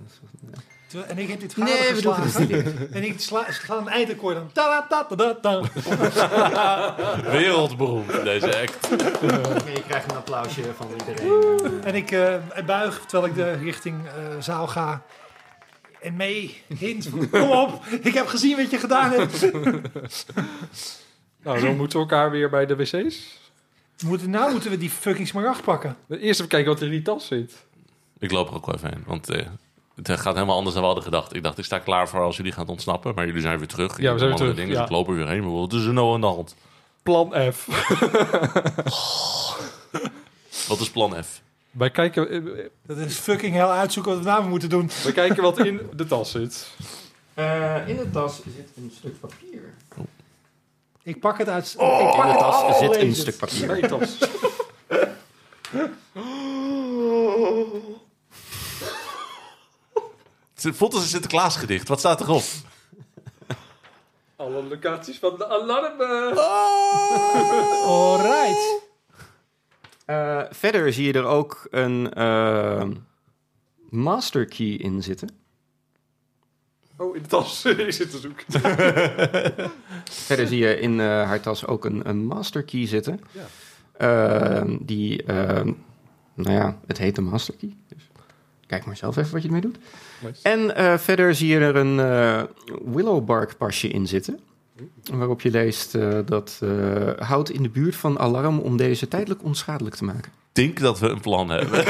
S2: Terwijl- En ik heb dit vader
S4: Nee, we doen het
S2: geslagen.
S4: niet. meer.
S2: En ik sla, sla een eindakkoord aan. Ta -da -ta -da -da
S3: Wereldberoemd, deze act.
S4: *laughs* Oké, je krijgt een applausje van iedereen.
S2: En ik eh, buig terwijl ik de richting eh, zaal ga. En mee hint van, *laughs* kom op, ik heb gezien wat je gedaan hebt.
S1: Nou, dan moeten we elkaar weer bij de wc's.
S2: Moeten, nou moeten we die fucking smaragd pakken.
S1: Eerst even kijken wat er in die tas zit.
S3: Ik loop er ook wel even heen, want eh, het eh, gaat helemaal anders dan we hadden gedacht. Ik dacht, ik sta klaar voor als jullie gaan ontsnappen, maar jullie zijn weer terug. Ik
S1: Ja, we
S3: doe
S1: zijn weer
S3: andere
S1: terug,
S3: Dingen,
S1: ja.
S3: Dus ik loop er weer heen. maar Wat is er nou aan de hand?
S1: Plan F.
S3: Wat is plan F?
S1: Wij kijken, eh,
S2: Dat is fucking hel uitzoeken wat we nou moeten doen.
S1: wij kijken wat in de tas zit.
S4: Eh, in de tas zit een stuk papier.
S2: Ik pak het uit...
S1: Oh.
S2: ik
S4: In
S2: pak
S4: de
S2: het
S4: tas zit
S2: lees
S4: een
S2: het.
S4: stuk papier.
S1: Mijn tas.
S3: Het voelt als een Sinterklaas gedicht. Wat staat
S2: *laughs*
S3: erop?
S6: Alle locaties van de alarmen.
S2: Alright.
S4: Eh, verder zie je er ook een ehm, master key in zitten.
S6: Oh, in de
S1: *laughs*
S6: tas is het te zoeken.
S4: Verder zie je in eh, haar tas ook een, een master key zitten.
S1: Ja.
S4: Ehm, die, ehm, nou ja, het heet een master key. Dus kijk maar zelf even wat je ermee doet.
S1: Nice. *laughs*
S4: En eh, verder zie je er een eh, willow bark pasje in zitten. Waarop je leest eh, dat eh houd in de buurt van alarm om deze tijdelijk onschadelijk te
S3: Ik
S4: maken.
S3: denk dat we een plan hebben.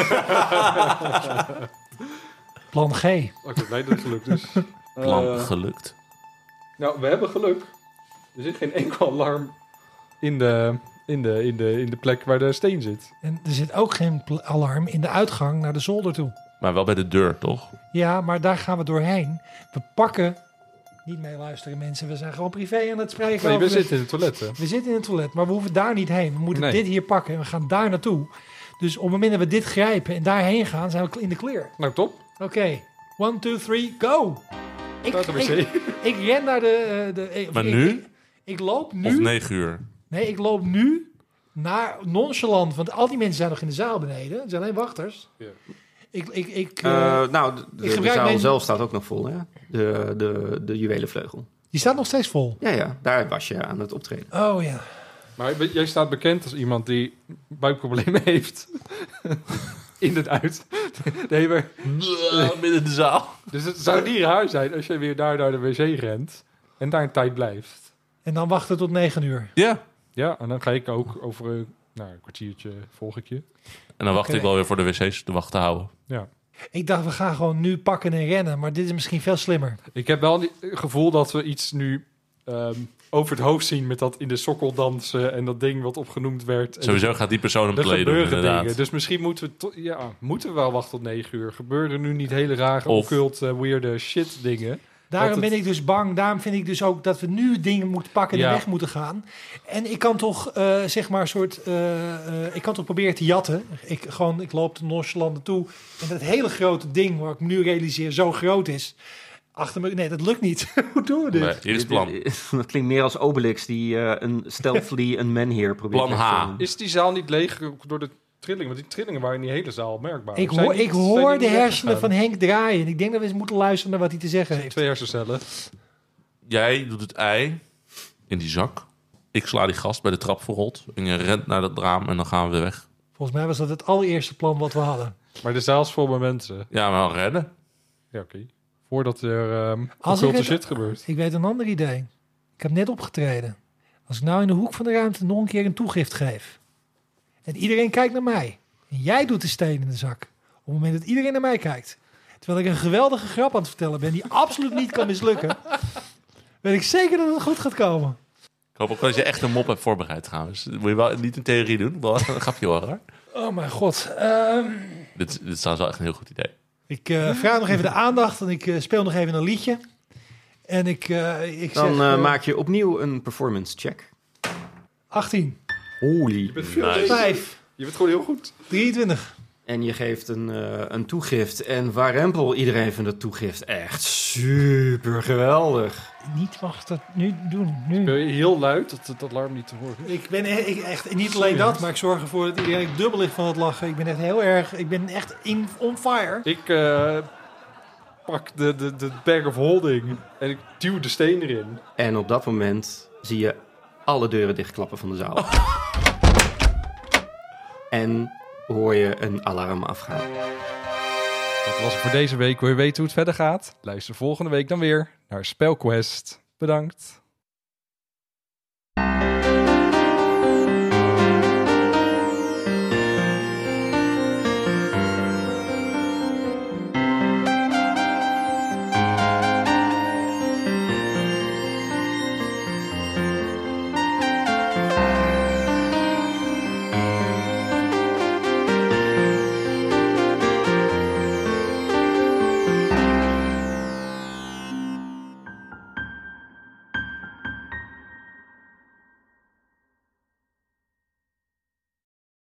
S2: Plan G.
S1: Oh, ik ben blij dat het gelukt is.
S3: Plan
S1: Eh,
S3: gelukt.
S1: nou, we hebben geluk. Er zit geen enkel alarm in de, in de, in de, in de plek waar de steen zit.
S2: En er zit ook geen pl- alarm in de uitgang naar de zolder toe.
S3: Maar wel bij de deur, toch?
S2: Ja, maar daar gaan we doorheen. We pakken... Niet mee luisteren mensen, we zijn gewoon privé aan het spreken.
S1: Nee, we
S2: over-
S1: zitten in het toilet, hè?
S2: We zitten in het toilet, maar we hoeven daar niet heen. We moeten
S1: Nee.
S2: dit hier pakken en we gaan daar naartoe. Dus op het moment dat we dit grijpen en daarheen gaan, zijn we in de clear.
S1: Nou, top.
S2: Oké, one, two, three, go! Ik,
S1: Staat de
S2: ik,
S1: wc.
S2: ik ren naar de... eh, de eh, of
S3: Maar
S2: ik-
S3: nu?
S2: Ik, ik loop nu...
S3: Of
S2: nee.
S3: negen uur.
S2: ik loop nu naar nonchalant, want al die mensen zijn nog in de zaal beneden. Het zijn alleen wachters.
S1: Ja.
S2: Ik, ik, ik, eh,
S4: Eh, nou, de, de
S2: gebruik
S4: zaal
S2: mijn-
S4: zelf staat ook nog vol, hè? De, de, de juwelenvleugel.
S2: die staat nog steeds vol.
S4: Ja, ja, daar was je aan het optreden.
S2: Oh ja.
S1: Maar we- jij staat bekend als iemand die buikproblemen *laughs* heeft. in het uit. Nee, maar,
S3: *laughs* Midden in de zaal.
S1: dus het zou niet raar zijn als jij weer daar naar de wc rent. En daar een tijd blijft.
S2: En dan wachten tot negen uur.
S3: Ja.
S1: Ja, en dan ga ik ook over een, nou, een kwartiertje volg ik je.
S3: En dan wacht
S2: Oké.
S3: ik wel weer voor de wc's te wachten houden.
S2: Ik dacht, we gaan gewoon nu pakken en rennen, maar dit is misschien veel slimmer.
S1: Ik heb wel het gevoel dat we iets nu ehm, over het hoofd zien met dat in de sokkel dansen en dat ding wat opgenoemd werd. En
S3: Sowieso gaat die persoon een
S1: Eh, Er
S3: play doen,
S1: gebeuren
S3: inderdaad.
S1: dingen. Dus misschien moeten we, to- ja, moeten we wel wachten tot negen uur. Gebeuren nu niet hele rare,
S3: Of-
S1: occult, eh, weirde shit dingen.
S2: Daarom
S1: Dat het-
S2: ben ik dus bang. Daarom vind ik dus ook dat we nu dingen moeten pakken en
S1: Ja.
S2: weg moeten gaan. En ik kan toch, eh, zeg maar, een soort... eh, eh, ik kan toch proberen te jatten. Ik, gewoon, ik loop de Noorslanden toe. En dat hele grote ding, waar ik me nu realiseer, zo groot is. Achter me... Nee, dat lukt niet. *laughs* Hoe
S1: Dus-
S2: doen we dit?
S3: Nee, hier is het plan.
S4: *laughs* Dat klinkt meer als Obelix die eh, een stealthily een man hier probeert
S3: Plan
S4: weg te
S3: H.
S4: doen.
S1: Is die zaal niet leeg door de trillingen? Want die trillingen waren in die hele zaal merkbaar.
S2: Ik,
S1: Of zijn
S2: hoor,
S1: die-
S2: ik
S1: zijn die
S2: hoor de
S1: niet
S2: hersenen van
S1: weggegaan?
S2: Henk draaien. En ik denk dat we eens moeten luisteren naar wat hij te zeggen heeft.
S1: *laughs* Twee hersencellen.
S3: Jij doet het ei in die zak. Ik sla die gast bij de trap verrot. En je rent naar dat raam en dan gaan we weg.
S2: Volgens mij was dat het allereerste plan wat we hadden.
S1: Maar de zaal is vol met mensen.
S3: Ja, maar wel rennen.
S1: Ja, oké. Voordat er ehm
S2: Als ik
S1: occulte
S2: het-
S1: shit gebeurt.
S2: Ik weet een ander idee. Ik heb net opgetreden. Als ik nou in de hoek van de ruimte nog een keer een toegift geef. En iedereen kijkt naar mij. En jij doet de steen in de zak. Op het moment dat iedereen naar mij kijkt. Terwijl ik een geweldige grap aan het vertellen ben die absoluut niet kan *laughs* mislukken. Weet ik zeker dat het goed gaat komen.
S3: Ik hoop ook dat je echt een mop hebt voorbereid trouwens. Dat moet je wel niet in theorie doen. Wel echt een grapje horen. hoor.
S2: Oh mijn god. Ehm,
S3: Dit, dit is trouwens wel echt een heel goed idee.
S2: ik eh, vraag nog even de aandacht en ik eh, speel nog even een liedje. En ik, eh, ik zeg
S4: Dan eh,
S2: eh,
S4: maak je opnieuw een performance check.
S2: 18,
S4: Holy.
S1: Je bent, veel
S3: Nice.
S1: beter.
S2: 5,
S1: je bent gewoon heel goed.
S2: 23.
S4: En je geeft een, eh, een toegift. En waarempel, iedereen vindt het toegift echt super geweldig.
S2: Niet mag dat nu doen. Nu.
S1: Wil je heel luid, dat het alarm niet te horen is.
S2: Ik ben e- ik echt niet alleen dat, maar ik zorg ervoor dat iedereen dubbel ligt van het lachen. Ik ben echt heel erg, ik ben echt in, on fire.
S1: Ik eh, pak de, de, de bag of holding en ik duw de steen erin.
S4: En op dat moment zie je alle deuren dichtklappen van de zaal.
S3: *laughs*
S4: En hoor je een alarm afgaan.
S1: Dat was het voor deze week. Wil je weten hoe het verder gaat? Luister volgende week dan weer naar Spelquest. Bedankt.